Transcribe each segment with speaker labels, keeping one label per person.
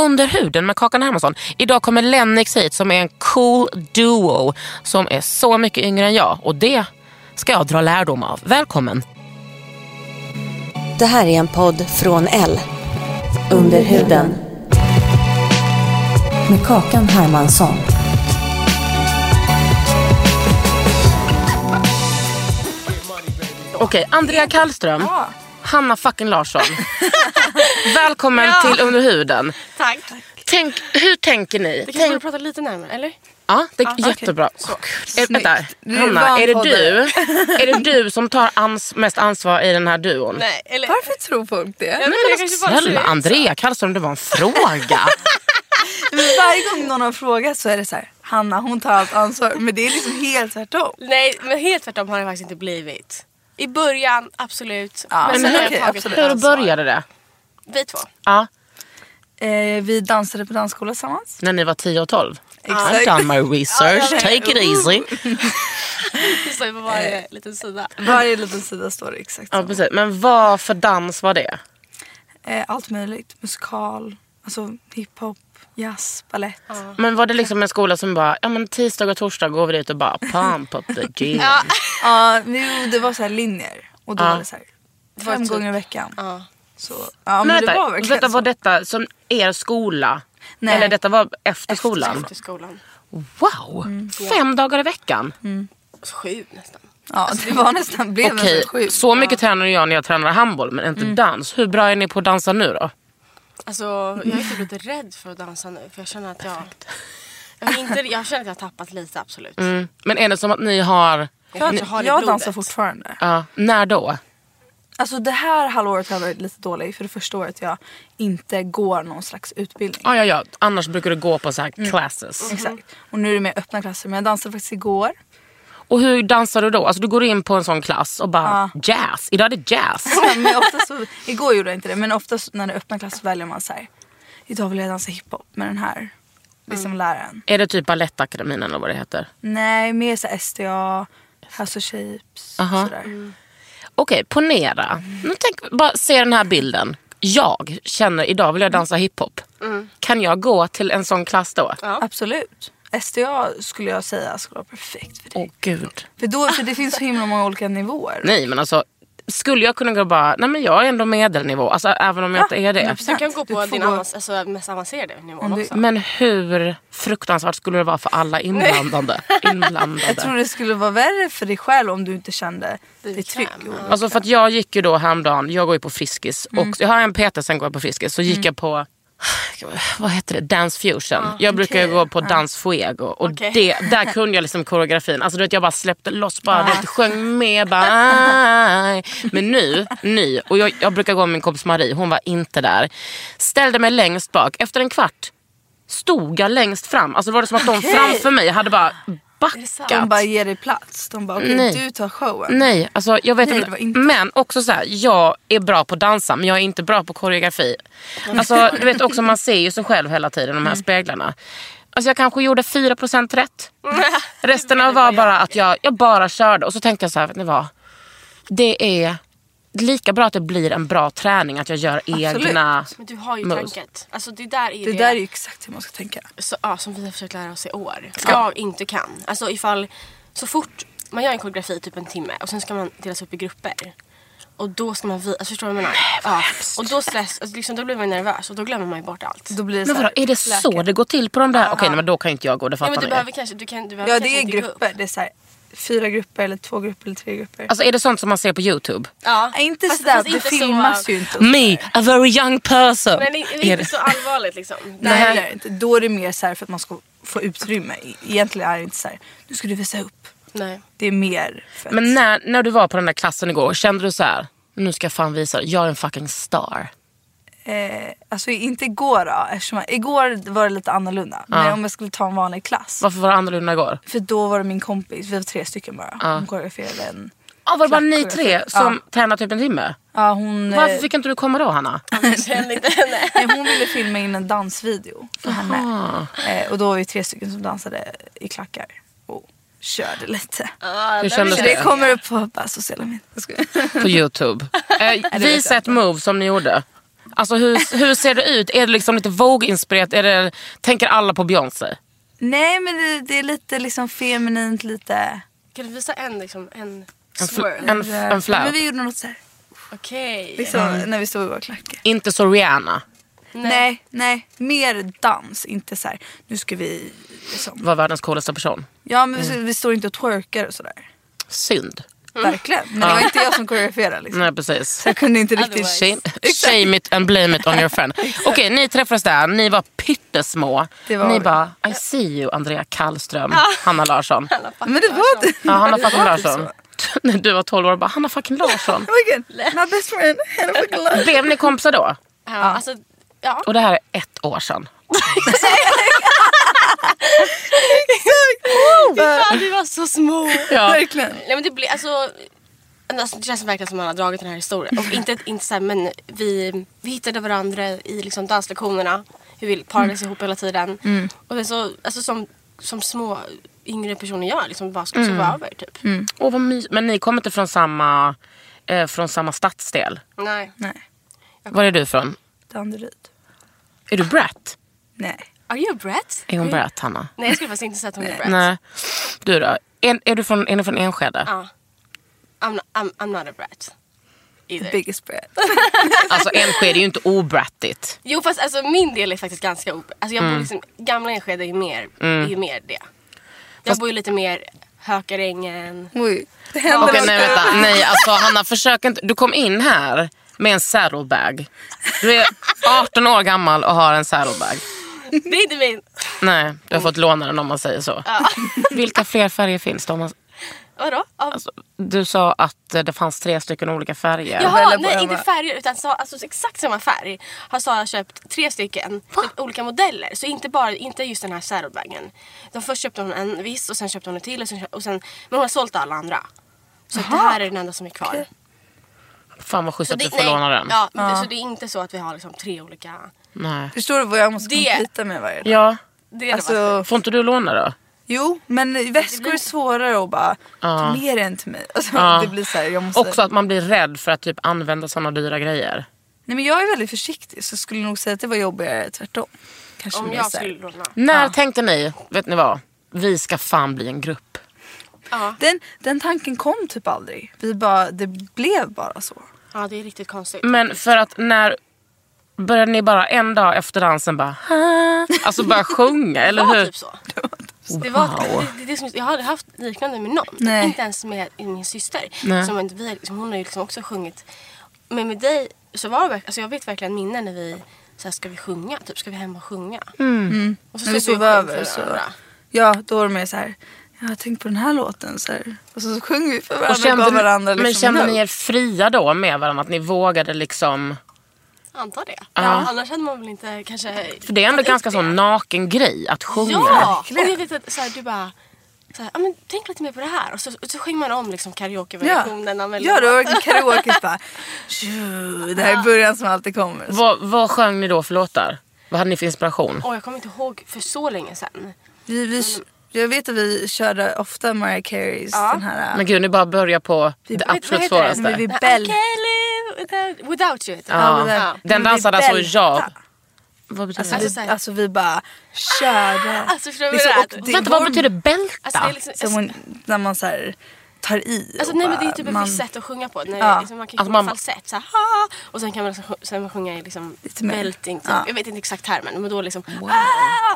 Speaker 1: Under huden med Kakan Hermansson. Idag kommer Lennix hit som är en cool duo som är så mycket yngre än jag och det ska jag dra lärdom av. Välkommen!
Speaker 2: Det här är en podd från L. Under huden. Med Kakan Hermansson.
Speaker 1: Okej, Andrea Karlström. Hanna fucking Larsson. Välkommen
Speaker 3: Ja.
Speaker 1: till Under huden.
Speaker 3: Tack.
Speaker 1: Tänk, hur tänker ni?
Speaker 3: Det kanske
Speaker 1: Tänk,
Speaker 3: borde prata lite närmare, eller?
Speaker 1: ja, det,
Speaker 3: Ja, okej.
Speaker 1: jättebra.
Speaker 3: Så.
Speaker 1: Är, vänta,
Speaker 4: Du är
Speaker 1: Hanna,
Speaker 4: van
Speaker 1: är det,
Speaker 4: poddare.
Speaker 1: du, är det du som tar ans, mest ansvar i den här duon?
Speaker 3: Nej, eller?
Speaker 5: Varför tror folk det?
Speaker 3: Ja, men jag
Speaker 1: Nej,
Speaker 3: kanske
Speaker 1: men snälla
Speaker 3: bara ser ut så.
Speaker 1: Andrea Karlström, det var en fråga.
Speaker 5: Varje gång någon har frågat så är det så här, Hanna hon tar allt ansvar. Men det är liksom helt tvärtom.
Speaker 3: Nej, men helt tvärtom har det faktiskt inte blivit. I början, absolut.
Speaker 5: Ja,
Speaker 3: men
Speaker 5: men
Speaker 3: sen har
Speaker 5: okej,
Speaker 3: jag tagit
Speaker 5: absolut.
Speaker 3: mitt
Speaker 1: Hur
Speaker 3: ansvar.
Speaker 1: började det?
Speaker 3: Vi två.
Speaker 1: Ja,
Speaker 5: Eh, vi dansade på dansskola tillsammans.
Speaker 1: när ni var 10 och 12? I've
Speaker 5: Exakt.
Speaker 1: done my research,
Speaker 5: Ja,
Speaker 1: take it easy.
Speaker 3: Det står ju på varje
Speaker 5: Eh.
Speaker 3: liten sida.
Speaker 5: Varje liten sida står det exakt
Speaker 1: Ja,
Speaker 5: samma.
Speaker 1: precis. Men vad för dans var det?
Speaker 5: eh, Allt möjligt. Musikal, alltså hiphop, jazz, balett.
Speaker 1: Men var det liksom en skola som bara, ja men tisdag och torsdag går vi dit och bara pump up the gym.
Speaker 5: Ja, men jo, det var så här linjer. Och då
Speaker 1: Ja.
Speaker 5: var det så här,
Speaker 3: var
Speaker 5: fem
Speaker 3: typ-
Speaker 5: gånger i veckan.
Speaker 3: Ja.
Speaker 5: Så, ja, men
Speaker 1: men
Speaker 5: det
Speaker 1: vänta,
Speaker 5: var
Speaker 1: var
Speaker 5: verkligen
Speaker 1: detta,
Speaker 5: så.
Speaker 1: var detta som er skola?
Speaker 5: Nej.
Speaker 1: Eller detta var efter skolan?
Speaker 3: Efter skolan.
Speaker 1: Wow! Fem dagar i veckan?
Speaker 3: Alltså, sju nästan.
Speaker 5: Ja, det Alltså, var nästan, blev
Speaker 1: Okej,
Speaker 5: nästan sjukt.
Speaker 1: så mycket tränade jag när jag tränade handboll men inte dans. Hur bra är ni på att dansa nu då?
Speaker 3: Alltså, jag är typ lite rädd för att dansa nu för jag känner att jag... Jag, är inte, jag känner att jag har tappat lite, absolut.
Speaker 1: Mm. Men är det som att ni har,
Speaker 3: Jag, kanske har
Speaker 5: Jag,
Speaker 3: det i
Speaker 5: jag
Speaker 3: blodet.
Speaker 5: dansar fortfarande.
Speaker 1: ja, när då?
Speaker 5: Alltså det här halvåret har jag varit lite dålig för det första året jag inte går någon slags utbildning.
Speaker 1: Ja, ja, ja. Annars brukar du gå på så här classes.
Speaker 5: Exakt. Och nu är det mer öppna klasser men jag dansade faktiskt igår.
Speaker 1: Och hur dansar du då? Alltså du går in på en sån klass och bara jazz. Idag är det jazz.
Speaker 5: men oftast så, igår gjorde jag inte det men oftast när det är öppna klasser väljer man så här. Idag vill jag dansa hiphop med den här liksom läraren.
Speaker 1: är det typ Balettakademin eller vad det heter?
Speaker 5: Nej mer så här SDA, House of Shapes
Speaker 1: Aha. Mm.
Speaker 5: sådär.
Speaker 1: Okej, ponera. Nu tänk, bara se den här bilden. Jag känner idag vill jag dansa hiphop. Kan jag gå till en sån klass då? Åh
Speaker 5: Absolut. SDA skulle jag säga skulle vara perfekt för det.
Speaker 1: gud.
Speaker 5: För, då, för det finns så himla många olika nivåer.
Speaker 1: Nej men alltså, skulle jag kunna gå och bara, nej men jag är ändå medelnivå. Alltså även om jag inte är det.
Speaker 3: Så du kan gå
Speaker 5: Du
Speaker 3: på
Speaker 5: får
Speaker 3: din
Speaker 5: gå-
Speaker 3: avans, alltså, mest avancerade nivån
Speaker 5: du-
Speaker 3: också.
Speaker 1: Men hur fruktansvärt skulle det vara för alla inblandade? inblandade.
Speaker 5: Jag tror det skulle vara värre för dig själv om du inte kände dig trygg. Mm.
Speaker 1: Alltså för att jag gick ju då häromdagen, jag går ju på Friskis. Och jag har en PT, sen går jag på Friskis. Så gick jag på, vad heter det, Dance Fusion. jag brukar ju gå på Dance Fuego. Och
Speaker 3: Okej.
Speaker 1: det, där kunde jag liksom koreografin. Alltså du vet jag bara släppte loss bara, du vet, sjöng med bara. "Aj". Men nu, ny. Och jag, jag brukar gå med min kompis Marie, hon var inte där. Ställde mig längst bak. Efter en kvart stod jag längst fram. Alltså det var det som att de framför mig hade bara backat.
Speaker 5: De bara ger dig plats. De bara okej
Speaker 1: Nej.
Speaker 5: du tar showen.
Speaker 1: Nej, alltså jag vet
Speaker 5: Nej,
Speaker 1: inte.
Speaker 5: det var inte.
Speaker 1: Men också så här, jag är bra på att dansa men jag är inte bra på koreografi. Alltså, du vet också, man ser ju sig själv hela tiden de här speglarna. Alltså jag kanske gjorde 4% rätt. Resten av var bara att jag, jag bara körde och så tänkte jag så här, vet ni vad? Det är lika bra att det blir en bra träning att jag gör egna...
Speaker 3: Men du har ju
Speaker 1: Mus.
Speaker 3: tanket. Alltså det där är
Speaker 5: Det där är ju exakt hur man ska tänka.
Speaker 3: så, ja, som vi har försökt lära oss i år. Jag inte kan. Alltså ifall, så fort man gör en koreografi typ en timme och sen ska man delas upp i grupper. Och då ska man vila. Alltså, förstår du vad jag menar? Ja. Och då, stress, alltså, liksom, då blir man nervös och då glömmer man ju bort allt.
Speaker 5: Då blir det
Speaker 1: Men
Speaker 5: så här,
Speaker 1: vadå, är det så det går till på de där? Okej, nej, men då kan ju inte jag gå, det
Speaker 3: Ja,
Speaker 1: fattar
Speaker 3: men du
Speaker 1: ni.
Speaker 3: behöver kanske, du kan, du behöver
Speaker 5: Ja
Speaker 3: kanske
Speaker 5: det är
Speaker 3: inte gå upp.
Speaker 5: grupper. Det är så här, fyra grupper eller två grupper eller tre grupper.
Speaker 1: Alltså är det sånt som man ser på YouTube?
Speaker 3: Ja.
Speaker 5: Nej, inte
Speaker 3: Fast-
Speaker 5: sådär,
Speaker 3: fast
Speaker 5: det
Speaker 3: inte så-
Speaker 5: filmas ju inte. och så
Speaker 1: Me,
Speaker 5: där.
Speaker 1: a very young person.
Speaker 3: Men det är
Speaker 1: Är
Speaker 3: inte
Speaker 1: det-
Speaker 3: så allvarligt liksom.
Speaker 5: Nej det är det inte. Då är det mer så här för att man ska få utrymme. E- Egentligen är det inte så här, nu ska du visa upp.
Speaker 3: Nej.
Speaker 5: Det är mer för att...
Speaker 1: Men när, när du var på den där klassen igår, kände du så här, nu ska jag fan visa, jag är en fucking star.
Speaker 5: Eh, alltså inte igår då. Eftersom, igår var det lite annorlunda. Men om jag skulle ta en vanlig klass.
Speaker 1: Varför var det annorlunda igår?
Speaker 5: För då var det min kompis, vi var tre stycken bara. Hon koreograferade en.
Speaker 1: Ja, var det bara ni
Speaker 5: Klack-
Speaker 1: tre som tränade typ en timme?
Speaker 5: Ja, hon, eh,
Speaker 1: Varför fick inte du komma då Hanna?
Speaker 5: Ah.
Speaker 3: Jag känner inte henne.
Speaker 5: nej, hon ville filma in en dansvideo för henne.
Speaker 1: Ah,
Speaker 5: Eh, och då var vi tre stycken som dansade i klackar och körde lite.
Speaker 1: Hur kändes
Speaker 5: Så det kommer upp på bara sociala medier.
Speaker 1: på Youtube. Eh, visa ett move som ni gjorde. Alltså hur, hur ser det ut? Är det liksom lite Vogue-inspirerat? Är det, tänker alla på Beyoncé?
Speaker 5: Nej men det, det är lite liksom feminint lite.
Speaker 3: Kan du visa en, liksom, en
Speaker 1: En, fl-
Speaker 3: swirl?
Speaker 1: en, f- en flap?
Speaker 5: Men vi gjorde något så här.
Speaker 3: Okej.
Speaker 5: Liksom, När vi stod i vår klack.
Speaker 1: Inte så Rihanna.
Speaker 5: Nej. nej, Mer dans. Inte så här. nu ska vi liksom.
Speaker 1: Var världens coolaste person.
Speaker 5: Ja men
Speaker 1: Mm.
Speaker 5: vi, vi står inte och twerkar och sådär.
Speaker 1: Synd.
Speaker 5: Verkligen. Men det var inte jag som koreograferade liksom.
Speaker 1: Nej precis.
Speaker 5: Så jag kunde inte riktigt...
Speaker 1: Shame, shame it and blame it on your friend. Okej, ni träffades där, ni var pyttesmå.
Speaker 5: Det var
Speaker 1: ni
Speaker 5: vi.
Speaker 1: bara, I see you Andrea Kallström, Hanna Larsson.
Speaker 5: Men det var det.
Speaker 1: Ja, Hanna fucking
Speaker 5: Det var inte
Speaker 1: Larsson. När du var 12 år bara, Hanna fucking Larsson.
Speaker 5: Fucking, My best friend, Hannah fucking Larsson.
Speaker 1: Blev ni kompisar då?
Speaker 3: Ja, alltså, ja.
Speaker 1: Och det här är ett år sedan.
Speaker 3: Fan, vi var så små.
Speaker 1: Ja.
Speaker 5: Verkligen.
Speaker 3: Nej men det blir alltså... Alltså, det känns verkligen som att man har dragit den här historien. Och inte, inte så här, men vi, vi hittade varandra i liksom danslektionerna. Hur vi parades ihop hela tiden. Och sen så, alltså, som, som små yngre personer gör, liksom bara ska sova över typ.
Speaker 1: Åh, vad mys- men ni kommer inte från samma, eh, från samma stadsdel?
Speaker 3: Nej.
Speaker 5: Nej,
Speaker 1: Var är du från?
Speaker 5: Danderyd.
Speaker 1: Är du brat?
Speaker 5: Nej.
Speaker 3: Are you a brat?
Speaker 1: Är hon brat, Hanna?
Speaker 3: Nej jag skulle faktiskt inte säga att hon är brat.
Speaker 1: Nej. Du då? Är, är, du från, är ni från Enskede?
Speaker 3: Ja. I'm, not, I'm, I'm not a brat. Either.
Speaker 5: Biggest brat.
Speaker 1: Alltså Enskede är ju inte obrattigt.
Speaker 3: Jo fast alltså min del är faktiskt ganska op- alltså, jag
Speaker 1: Mm.
Speaker 3: bor liksom, Gamla Enskede är ju mer, är ju mer det. Jag bor ju lite mer Hökarängen.
Speaker 5: Oj. Det hände
Speaker 1: Okej,
Speaker 5: något.
Speaker 1: nej vänta. Nej, alltså Hanna försök inte. Du kom in här med en saddlebag. Du är 18 år gammal och har en saddlebag.
Speaker 3: Det är inte min.
Speaker 1: Nej, du har fått låna den om man säger så. Vilka fler färger finns det? Om man,
Speaker 3: Vadå? Av,
Speaker 1: alltså, du sa att eh, det fanns tre stycken olika färger.
Speaker 3: jaha,
Speaker 5: på
Speaker 3: nej
Speaker 5: Emma.
Speaker 3: inte färger utan så, alltså, exakt samma färg har Sara köpt tre stycken typ, olika modeller. Så inte bara, inte just den här saddlebagen. De först köpte hon en viss och sen köpte hon en till och sen, och sen men hon har sålt alla andra. Så att det här är den enda som är kvar.
Speaker 1: Fan vad schysst
Speaker 3: Så
Speaker 1: att du
Speaker 3: det,
Speaker 1: får låna den.
Speaker 3: Ja, Så det är inte så att vi har liksom tre olika.
Speaker 1: Nej.
Speaker 5: Förstår du vad jag måste
Speaker 3: Det-
Speaker 5: komplita med varje dag?
Speaker 1: Ja.
Speaker 3: Det är det
Speaker 5: Alltså,
Speaker 1: Får inte du låna då?
Speaker 5: jo, men väskor är svårare att bara ta med den till mig. Alltså,
Speaker 1: Ja.
Speaker 5: Det blir så här, jag måste...
Speaker 1: Också att man blir rädd för att typ använda såna dyra grejer.
Speaker 5: Nej, men jag är väldigt försiktig så skulle nog säga att det var jobbigare tvärtom. Kanske
Speaker 3: Om
Speaker 5: mer
Speaker 3: jag
Speaker 5: så här-
Speaker 3: skulle låna.
Speaker 1: När tänkte ni, vet ni vad? Vi ska fan bli en grupp.
Speaker 5: den, den tanken kom typ aldrig. Vi bara, det blev bara så.
Speaker 3: Ja det är riktigt konstigt.
Speaker 1: Men för att när började ni bara en dag efter dansen bara "Ah", Alltså börja sjunga eller
Speaker 3: det var
Speaker 1: hur?
Speaker 3: typ så. Det var, det, det, det, som- jag har aldrig haft liknande med någon.
Speaker 5: Nej.
Speaker 3: Inte ens med min syster.
Speaker 1: Nej.
Speaker 3: Som inte, vi, som hon har ju liksom också sjungit. Men med dig så var det verk- alltså jag vet verkligen minnen när vi så här, ska vi sjunga? Typ ska vi hem och sjunga? Och så
Speaker 5: När vi
Speaker 3: stod
Speaker 5: sov
Speaker 3: vi och sjöng
Speaker 5: över
Speaker 3: för
Speaker 5: så...
Speaker 3: varandra.
Speaker 5: Ja, då var det mer så här. Jag har tänkt på den här låten så här. Och så sjöng vi för varandra
Speaker 1: Och
Speaker 5: och, gav varandra liksom
Speaker 1: men kände
Speaker 5: lugn.
Speaker 1: ni er fria då med varandra? Att ni vågade liksom?
Speaker 3: Antar det. Ja, annars hade man väl inte kanske...
Speaker 1: För det är ändå ganska sån naken grej att sjunga.
Speaker 3: Ja! Och jag vet att så här, du bara... Så här, "Ja, men tänk lite mer på det här. Och så, och så sjöng man om liksom, karaokeversionerna.
Speaker 5: Ja,
Speaker 3: mellan-
Speaker 5: ja det var verkligen karaoke. bara, tju, det här är början som alltid kommer.
Speaker 1: Vad, vad sjöng ni då för låtar? Vad hade ni för inspiration?
Speaker 3: Åh, jag kommer inte ihåg för så länge sedan.
Speaker 5: Vi, vi, jag vet att vi körde ofta Mariah Careys den här. eh,
Speaker 1: Men gud, ni bara börjar på det
Speaker 3: Vad- vad
Speaker 1: absolut
Speaker 3: heter den?
Speaker 1: svåraste.
Speaker 5: Men vi-
Speaker 3: I
Speaker 5: Bell.
Speaker 3: can't live without, Ah, without you. heter den.
Speaker 5: Ja,
Speaker 1: Ja.
Speaker 5: det där-
Speaker 3: Ja.
Speaker 1: Den
Speaker 5: men vi
Speaker 1: dansade alltså och
Speaker 5: bälta.
Speaker 1: jag... Vad betyder
Speaker 5: Alltså,
Speaker 1: det?
Speaker 3: Alltså, så
Speaker 5: vi,
Speaker 3: här-
Speaker 5: alltså vi bara körde.
Speaker 3: Alltså, förstår du
Speaker 5: Liksom,
Speaker 3: vad det är?
Speaker 5: och det
Speaker 1: Vänta, vad
Speaker 5: var-
Speaker 1: betyder bälta?
Speaker 3: Alltså, det är liksom,
Speaker 5: Som hon, när man så här, tar i.
Speaker 3: Alltså,
Speaker 5: och
Speaker 3: nej men det är
Speaker 5: bara-
Speaker 3: typ ett
Speaker 5: man-
Speaker 3: visst sätt att sjunga på. När,
Speaker 5: Ja.
Speaker 3: liksom, man kan
Speaker 1: Alltså,
Speaker 3: sjunga
Speaker 1: man-
Speaker 3: falsett så här, "Ah", och sen kan man, liksom, sen man sjunga i liksom,
Speaker 5: Lite mer.
Speaker 3: belting. Typ.
Speaker 5: Ja.
Speaker 3: Jag vet inte exakt termen men då liksom... Wow.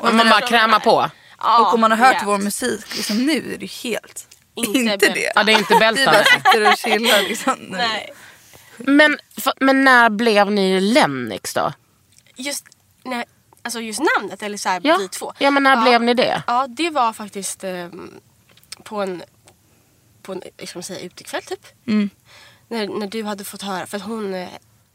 Speaker 1: Men man bara krämar på.
Speaker 3: Ja,
Speaker 5: Och om man har hört
Speaker 3: ja.
Speaker 5: vår musik liksom, nu är det helt
Speaker 3: Inte
Speaker 5: inte,
Speaker 3: bält.
Speaker 5: det.
Speaker 1: Ja, det är inte
Speaker 5: Vi
Speaker 1: bältande.
Speaker 5: bara sitter och chillar liksom. nu.
Speaker 3: Nej.
Speaker 1: Men, fa- men när blev ni Lennix då?
Speaker 3: Just, nej, alltså just namnet eller så här,
Speaker 1: Ja,
Speaker 3: vi två.
Speaker 1: ja men när blev ni det?
Speaker 3: Ja, det var faktiskt ehm, på en, på en jag ska man säga, utekväll typ.
Speaker 5: Mm.
Speaker 3: När, när du hade fått höra, för att hon... eh,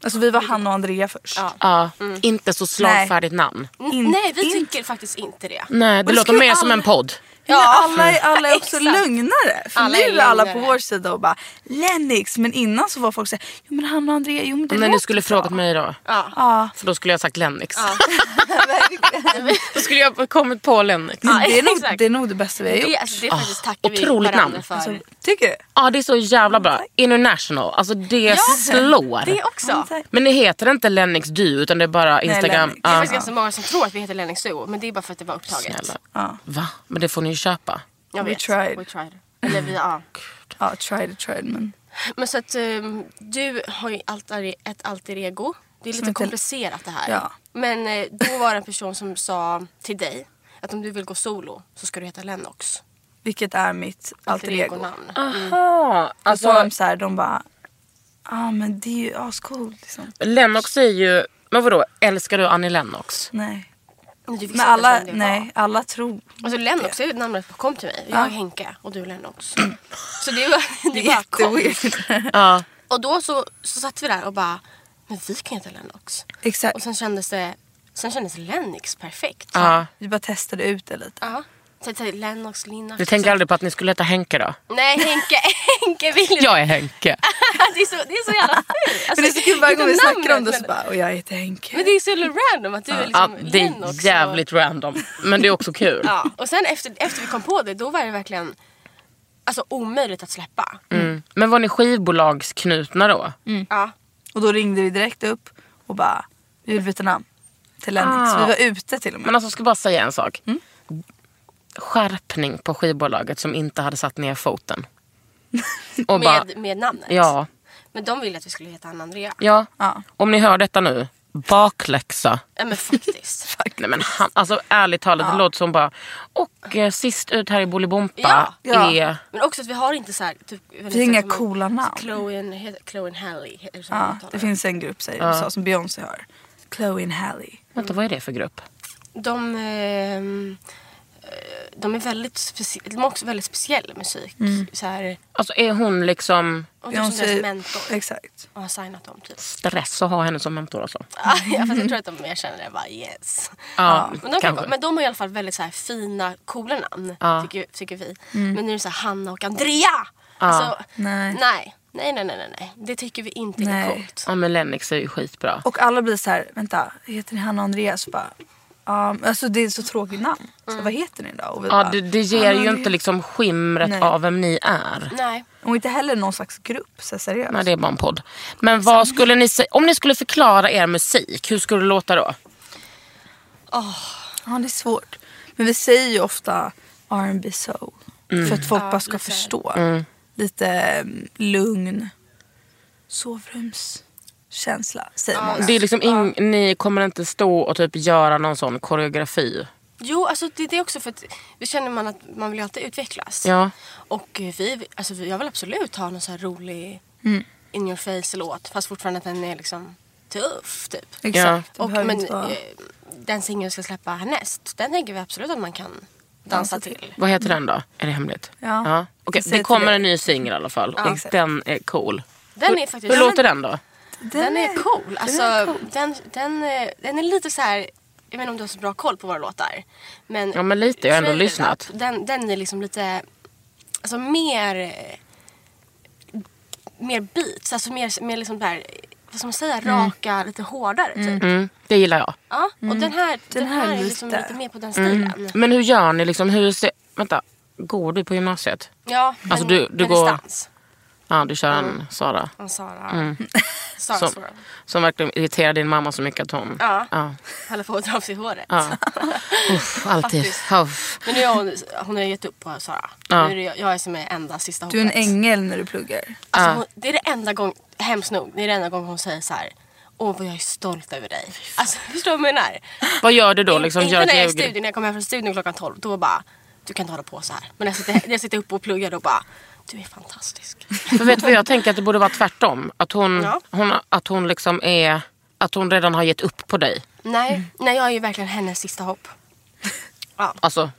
Speaker 5: Alltså vi var han och Andrea först.
Speaker 3: Ja.
Speaker 1: Ja, inte så slagfärdigt namn.
Speaker 3: n-
Speaker 5: In-
Speaker 3: Mm. nej, vi
Speaker 5: in-
Speaker 3: tycker faktiskt inte det.
Speaker 1: Nej, det
Speaker 5: det
Speaker 1: låter
Speaker 5: skulle
Speaker 1: mer som
Speaker 5: aldrig-
Speaker 1: en podd.
Speaker 5: Ja, alla, är- alla är också
Speaker 3: Exakt.
Speaker 5: lögnare. För
Speaker 3: Alla
Speaker 5: nu
Speaker 3: är
Speaker 5: är alla på
Speaker 3: lögnare.
Speaker 5: vår sida och bara Lennix. Men innan så var folk såhär, jo men han och Andrea, jo men det
Speaker 1: När ni
Speaker 5: låter
Speaker 1: skulle
Speaker 5: bra.
Speaker 1: frågat mig då.
Speaker 3: Ja.
Speaker 5: Ja,
Speaker 1: För då skulle jag sagt Lennix.
Speaker 5: verkligen.
Speaker 1: Då skulle jag ha kommit på Lennix.
Speaker 5: Men det, är nog,
Speaker 3: exakt.
Speaker 5: det är nog det bästa vi har gjort.
Speaker 3: Det, alltså, det faktiskt tackar vi
Speaker 1: otroligt
Speaker 3: varandra
Speaker 1: namn.
Speaker 3: för.
Speaker 5: Alltså, tycker du?
Speaker 1: Ja, det är så jävla bra. International. Alltså det slår.
Speaker 3: det också.
Speaker 5: Ja, tack.
Speaker 1: Men ni heter inte Lennix du utan det är bara Instagram.
Speaker 5: Lennix.
Speaker 3: Det är
Speaker 1: Ja.
Speaker 3: faktiskt ganska många som tror att vi heter Lennings Duo men det är bara för att det var upptaget.
Speaker 1: Snälla.
Speaker 5: Ja.
Speaker 1: Va? Men det får ni ju köpa.
Speaker 3: Jag
Speaker 5: We
Speaker 3: vet.
Speaker 5: tried.
Speaker 3: We tried. Eller vi, ja.
Speaker 5: Ja, tried and tried men.
Speaker 3: Men så att ehm, du har ju alter, ett alter ego. Det är
Speaker 5: Som
Speaker 3: lite
Speaker 5: inte-
Speaker 3: komplicerat det här.
Speaker 5: Ja.
Speaker 3: Men eh, då var det en person som sa till dig att om du vill gå solo så ska du heta Lennox.
Speaker 5: Vilket är mitt alter ego.
Speaker 3: namn.
Speaker 1: Aha,
Speaker 5: Och så var
Speaker 3: Alltså-
Speaker 5: de såhär, de bara, ja ah, men det är ju ascoolt liksom.
Speaker 1: Lennox är ju... Men vadå, älskar du Annie Lennox?
Speaker 5: Nej.
Speaker 3: Men, du visste
Speaker 5: Men
Speaker 3: inte ens
Speaker 5: alla,
Speaker 3: vem det var.
Speaker 5: nej, alla tror.
Speaker 3: Alltså Lennox är ju namnet på kom till mig. Jag är Henke och du är Lennox. så det var, det
Speaker 5: Det
Speaker 3: bara
Speaker 5: är
Speaker 3: kom.
Speaker 5: jätteweird.
Speaker 1: Ja.
Speaker 3: Och då så, så satt vi där och bara, men vi kan ju heta Lennox. Och
Speaker 5: Exakt.
Speaker 3: sen kändes det, sen kändes Lennox perfekt.
Speaker 1: ja.
Speaker 5: Vi bara testade ut det lite.
Speaker 1: Alltså,
Speaker 3: Ja. Så jag tänkte Lennox, Linnox.
Speaker 1: Du tänker aldrig på att ni skulle heta Henke då?
Speaker 3: Nej Henke, Henke vill inte.
Speaker 1: Jag är Henke.
Speaker 3: det, är så, det är så jävla fult. Alltså,
Speaker 5: Men det är så kul varje gång vi
Speaker 3: inte
Speaker 5: snackar om det
Speaker 3: namnet,
Speaker 5: så bara, och jag heter Henke.
Speaker 3: Men det är så jävla random att du är
Speaker 1: Ja,
Speaker 3: liksom
Speaker 1: det är
Speaker 3: Lennox
Speaker 1: jävligt random. Men det är också kul.
Speaker 3: Och, ja. och sen efter, efter vi kom på det, då var det verkligen alltså, omöjligt att släppa.
Speaker 1: Mm. Men var ni skivbolagsknutna då?
Speaker 3: Ja.
Speaker 5: Och då ringde vi direkt upp och bara, vi vill byta namn. Till Lennix.
Speaker 1: Ah.
Speaker 5: Vi var ute till och med.
Speaker 1: Men alltså, jag ska bara säga en sak. Skärpning på skivbolaget som inte hade satt ner foten. Och bara,
Speaker 3: Med, med namnet.
Speaker 1: ja,
Speaker 3: Men de ville att vi skulle heta Anna-Andrea.
Speaker 1: ja.
Speaker 5: Ja.
Speaker 1: Om ni hör detta nu, bakläxa.
Speaker 3: Ja men faktiskt.
Speaker 1: Nej, men han, alltså, ärligt talat, det låter som bara... Och eh, sist ut här i Bolibompa
Speaker 5: Ja.
Speaker 1: är...
Speaker 3: Men också att vi har inte så här, typ, jag vet
Speaker 5: Vi har
Speaker 3: inte
Speaker 5: inga
Speaker 3: hur man-
Speaker 5: coola namn.
Speaker 3: Chloe and, heter Chloe and Halle. heter så man
Speaker 5: Ja,
Speaker 3: uttalar
Speaker 5: det finns en grupp säger
Speaker 1: Ah.
Speaker 5: i USA som Beyoncé har. Chloe and Halle.
Speaker 1: Vänta, vad är det för grupp?
Speaker 3: De, ehm, eh, de är väldigt specie- de har också väldigt speciell musik.
Speaker 5: Mm.
Speaker 3: Så här,
Speaker 1: Alltså är hon liksom
Speaker 3: och de som deras mentor
Speaker 5: Exakt.
Speaker 3: och har signat dem typ.
Speaker 1: stress att ha henne som mentor alltså?
Speaker 3: ja, fast jag tror att
Speaker 5: Mm.
Speaker 3: de mer känner det bara yes.
Speaker 1: Ja,
Speaker 3: Men de, kan,
Speaker 1: kanske.
Speaker 3: men de har i alla fall väldigt så här fina, coola namn
Speaker 1: Ja.
Speaker 3: tycker, tycker vi. Men nu är det så här Hanna och Andrea. Alltså,
Speaker 5: Mm. Nej.
Speaker 3: nej. Nej, nej, nej, nej, nej. Det tycker vi inte är
Speaker 5: Nej.
Speaker 3: coolt.
Speaker 1: Ja men Lennox är ju skitbra.
Speaker 5: Och alla blir så här, vänta, heter ni Hanna och Andreas? Och Bara, um, alltså det är ett så tråkigt namn. Så, vad heter ni då? Och, vi
Speaker 1: Mm. Ja,
Speaker 5: bara,
Speaker 1: det, det
Speaker 5: Hanna
Speaker 1: ger
Speaker 5: och
Speaker 1: ju
Speaker 5: Andreas.
Speaker 1: inte liksom skimret
Speaker 5: Nej.
Speaker 1: av vem ni är.
Speaker 3: Nej.
Speaker 5: och inte heller någon slags grupp, så seriöst.
Speaker 1: Nej, det är bara en podd. Men vad skulle ni säga, om ni skulle förklara er musik, hur skulle det låta då?
Speaker 5: Ja, det är svårt. Men vi säger ju ofta R&B soul.
Speaker 1: Mm.
Speaker 5: För att folk bara ska
Speaker 3: lite-
Speaker 5: förstå. Lite mm, lugn. Sovrumskänsla säger många.
Speaker 1: Det är liksom ing- Ni kommer inte stå och typ göra någon sån koreografi.
Speaker 3: Jo, alltså det, det är också för att vi känner man att man vill ju alltid utvecklas.
Speaker 1: Ja.
Speaker 3: Och eh, vi, alltså vi- jag vill absolut ha någon så här rolig in your face låt fast fortfarande att den är liksom tuff typ.
Speaker 5: Exakt.
Speaker 3: Och,
Speaker 5: Det behöver
Speaker 3: men
Speaker 5: inte vara...
Speaker 3: eh, den singeln vi ska släppa härnäst, den tänker vi absolut att man kan dansa till.
Speaker 1: Vad heter den då? Är det hemligt?
Speaker 5: Ja.
Speaker 1: Okej,
Speaker 5: Jag säger
Speaker 1: det kommer
Speaker 5: till
Speaker 1: en ny singel i alla fall och
Speaker 5: Exakt.
Speaker 1: den är cool.
Speaker 3: Den är faktiskt...
Speaker 1: Hur låter den då?
Speaker 3: Den, är cool. Alltså, den, är Den, den, eh, den är lite så här... Jag vet inte om du har så bra koll på våra låtar. Men
Speaker 1: Ja, men lite. Jag har ändå
Speaker 3: Trailer
Speaker 1: lyssnat.
Speaker 3: Up, Den, den är liksom lite... Alltså mer... eh, Mer beats. Alltså mer, mer liksom där... Vad ska man säga? Raka, lite hårdare typ.
Speaker 1: Mm, det gillar jag.
Speaker 3: Ja, och Mm. den här, den
Speaker 5: här
Speaker 3: här, är
Speaker 5: är
Speaker 3: liksom
Speaker 5: lite-
Speaker 3: lite mer på den stilen.
Speaker 1: Men hur gör ni liksom? Hur ser, vänta, går du på gymnasiet?
Speaker 3: Ja,
Speaker 1: Alltså,
Speaker 3: men
Speaker 1: du- du
Speaker 3: med
Speaker 1: går-
Speaker 3: distans.
Speaker 1: Ja, du kör en Sara.
Speaker 3: Och Sara.
Speaker 1: Mm. Som,
Speaker 3: Sara Sora.
Speaker 1: som verkligen irriterar din mamma så mycket att hon...
Speaker 3: Ja.
Speaker 1: ja.
Speaker 3: Höll på att dra av sig håret.
Speaker 1: ja. Uff, alltid.
Speaker 3: Faktiskt.
Speaker 1: Uff.
Speaker 3: Men nu har hon, hon har gett upp på Sara.
Speaker 1: Ja.
Speaker 3: Nu är det jag, jag är som är enda sista hoppet.
Speaker 5: Du är en ängel när du pluggar.
Speaker 3: Alltså,
Speaker 1: Ja.
Speaker 3: hon, det är det enda gången, hemskt nog, det är det enda gången hon säger så här. Åh vad jag är stolt över dig. Alltså förstår du vad jag menar?
Speaker 1: Vad gör du då? Liksom,
Speaker 3: inte
Speaker 1: gör
Speaker 3: när jag är i
Speaker 1: ljuger du?
Speaker 3: studion, när jag kommer hem från studion klockan 12. Då bara, du kan inte hålla på så här. Men när jag sitter, när jag sitter uppe och pluggar då bara, du är fantastisk.
Speaker 1: För vet du vad jag tänker att det borde vara tvärtom. Att hon,
Speaker 3: Ja.
Speaker 1: hon, att hon liksom är... Att hon redan har gett upp på dig.
Speaker 3: nej, nej jag är ju verkligen hennes sista hopp. Ja,
Speaker 1: Alltså,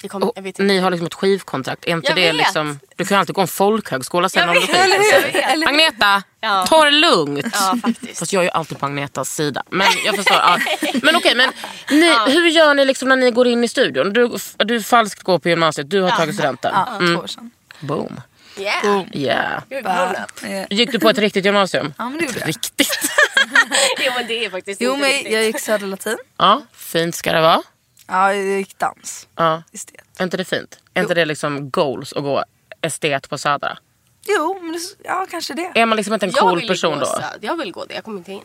Speaker 3: det kommer, jag vet inte.
Speaker 1: ni har liksom ett skivkontrakt. Är inte
Speaker 3: Jag
Speaker 1: det
Speaker 3: vet.
Speaker 1: liksom, du kan ju alltid gå en folkhögskola sen om du
Speaker 3: eller
Speaker 1: skiter sig.
Speaker 3: hur? Eller
Speaker 1: Agneta,
Speaker 3: Ja.
Speaker 1: ta det lugnt.
Speaker 3: Ja faktiskt.
Speaker 1: Fast jag är ju alltid på Agnetas sida. Men jag förstår. Ja. Men okej, men ni, hur gör ni liksom när ni går in i studion? Du, du falskt går på gymnasiet, du har tagit studenten.
Speaker 5: Ja,
Speaker 1: Mm.
Speaker 5: två år sedan.
Speaker 1: Boom.
Speaker 3: Yeah.
Speaker 1: Yeah.
Speaker 3: You're grown
Speaker 5: Bara,
Speaker 3: up.
Speaker 5: eh,
Speaker 1: Gick du på ett riktigt gymnasium?
Speaker 5: Ja men det gjorde jag.
Speaker 1: Riktigt.
Speaker 3: Jo men det är faktiskt
Speaker 5: Jo
Speaker 3: inte
Speaker 5: men
Speaker 3: riktigt.
Speaker 5: jag gick Södra Latin.
Speaker 1: Ja, fint ska det vara.
Speaker 5: Ja jag gick dans.
Speaker 1: Ja.
Speaker 5: Estet.
Speaker 1: Är inte det fint? Är inte det liksom goals att gå estet på Södra?
Speaker 5: Jo men det, ja kanske det.
Speaker 1: Är man liksom inte en
Speaker 3: jag
Speaker 1: cool
Speaker 3: vill ju
Speaker 1: person
Speaker 3: gå
Speaker 1: då?
Speaker 3: Söd. Jag vill gå det, jag kommer inte in.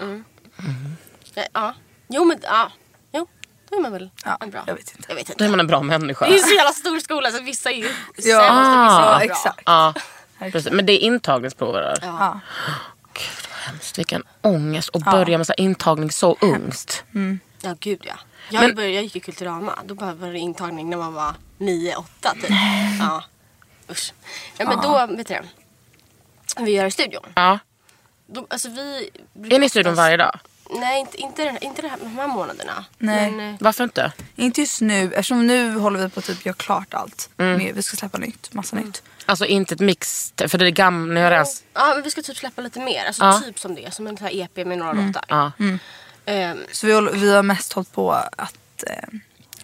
Speaker 3: Mm. Ja, ja. Jo men ja. Jo, då är man väl
Speaker 5: Ja,
Speaker 3: en bra.
Speaker 5: jag vet inte.
Speaker 3: Jag vet inte.
Speaker 1: Då är man en bra människa.
Speaker 3: Det är en så jävla stor skola så vissa är ju sämst och vissa
Speaker 1: Ah,
Speaker 3: är
Speaker 5: Ja
Speaker 3: bra.
Speaker 5: exakt.
Speaker 1: Ja, precis. Men det är intagningsprover där.
Speaker 5: Ja.
Speaker 1: Hemskt, Vilken ångest att börja med så här intagning så ungt.
Speaker 3: Ja gud ja. Jag,
Speaker 1: Men-
Speaker 3: började, jag gick ju Kulturama. Då behövde det intagning när man var 9-8 typ. Ja. Usch. Ja men då, vet du det. Vi gör i studion.
Speaker 1: Ja.
Speaker 3: Då, alltså vi brukar
Speaker 1: Är ni i studion
Speaker 3: oftast-
Speaker 1: varje dag?
Speaker 3: Nej inte, inte, den, inte den här, de här månaderna.
Speaker 5: Nej.
Speaker 3: Men, eh,
Speaker 1: Varför inte?
Speaker 5: Inte just nu eftersom nu håller vi på att typ göra klart allt.
Speaker 1: Mm.
Speaker 5: Med, vi ska släppa nytt, massa nytt.
Speaker 1: Alltså inte ett mix, för det är gamla, ni har ens...
Speaker 3: Ja, men vi ska typ släppa lite mer. Alltså
Speaker 1: Ja. Mm.
Speaker 3: typ som det, som en sån här EP med några låtar.
Speaker 1: Ja.
Speaker 3: Ehm,
Speaker 5: Så vi, håller, vi har mest hållit på att eh,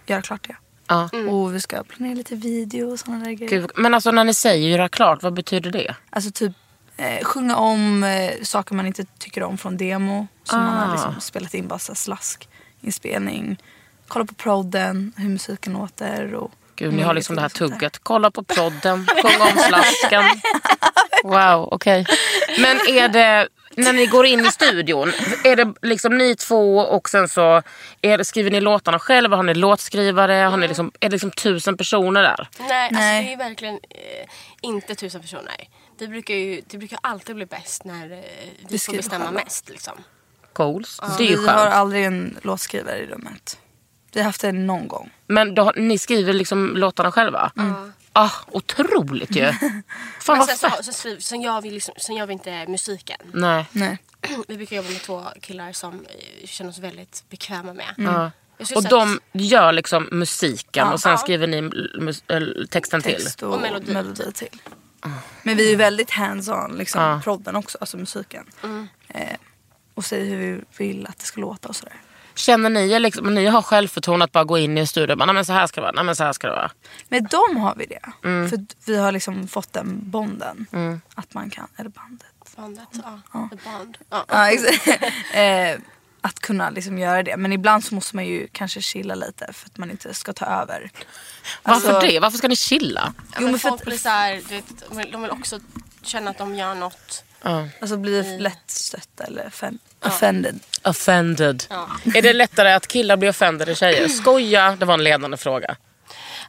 Speaker 5: göra klart det.
Speaker 1: Ja.
Speaker 5: Och vi ska planera lite video och sådana där grejer.
Speaker 1: Gud, men alltså när ni säger göra klart, vad betyder det?
Speaker 5: Alltså typ eh, sjunga om eh, saker man inte tycker om från demo. Som man
Speaker 1: Ah.
Speaker 5: har liksom spelat in bara så här slaskinspelning. Kolla på prodden, hur musiken låter och...
Speaker 1: Gud, ni har liksom det här
Speaker 5: sånt där.
Speaker 1: tugget. Kolla på prodden, sjung om slasken. Wow, okej. Men är det, när ni går in i studion, är det liksom ni två och sen så är det, skriver ni låtarna själva? Har ni låtskrivare? Har ni liksom, är det liksom tusen personer där?
Speaker 3: nej,
Speaker 5: Nej.
Speaker 3: Alltså, det är verkligen eh, inte tusen personer. Vi brukar ju, det brukar alltid bli bäst när eh, vi, får
Speaker 5: skriver
Speaker 3: bestämma
Speaker 5: själva.
Speaker 3: mest. Liksom.
Speaker 1: Goals. Det är ju
Speaker 5: Vi har
Speaker 1: skönt.
Speaker 5: aldrig en låtskrivare i rummet. Vi har haft det någon gång.
Speaker 1: Men då, har- ni skriver liksom låtarna själva? Ah, otroligt ju. Fan
Speaker 3: Men
Speaker 1: vad
Speaker 3: sen, så,
Speaker 1: fett.
Speaker 3: så, skriver- sen, gör vi liksom, sen gör vi inte musiken.
Speaker 1: Nej.
Speaker 5: Nej.
Speaker 3: Vi brukar jobba med två killar som eh, känner oss väldigt bekväma med.
Speaker 1: Ja.
Speaker 3: Jag skulle
Speaker 1: Mm. Och
Speaker 3: säga
Speaker 1: de gör liksom musiken och sen
Speaker 3: Ja.
Speaker 1: skriver ni mus- eller texten till?
Speaker 5: Text och,
Speaker 3: Och
Speaker 5: melodi.
Speaker 3: melodi.
Speaker 5: till. Ah. Men vi är ju väldigt hands-on, liksom,
Speaker 1: Ja.
Speaker 5: prodden också, alltså musiken. Eh, och säger hur vi vill att det ska låta och sådär.
Speaker 1: Känner ni er liksom, ni har självförtroende att bara gå in i en studio och bara, nej men så här ska det vara, nej men så här ska det vara.
Speaker 5: Med dem har vi det. För vi har liksom fått den bonden. Att man kan, eller bandet.
Speaker 3: Bandet, ja. The Band. Ja.
Speaker 5: Ja, exakt. eh, att kunna liksom göra det. Men ibland så måste man ju kanske chilla lite för att man inte ska ta över.
Speaker 1: Varför
Speaker 5: Alltså-
Speaker 1: det? Varför ska ni chilla?
Speaker 3: Ja,
Speaker 5: Jo,
Speaker 3: men
Speaker 5: men för
Speaker 3: folk
Speaker 5: att-
Speaker 3: blir så här, du vet, de vill- de vill också känna att de gör något.
Speaker 5: Alltså bli lättstötta eller offen- offended.
Speaker 1: Offended. Är det lättare att killar blir offended än tjejer? Skoja, det var en ledande fråga.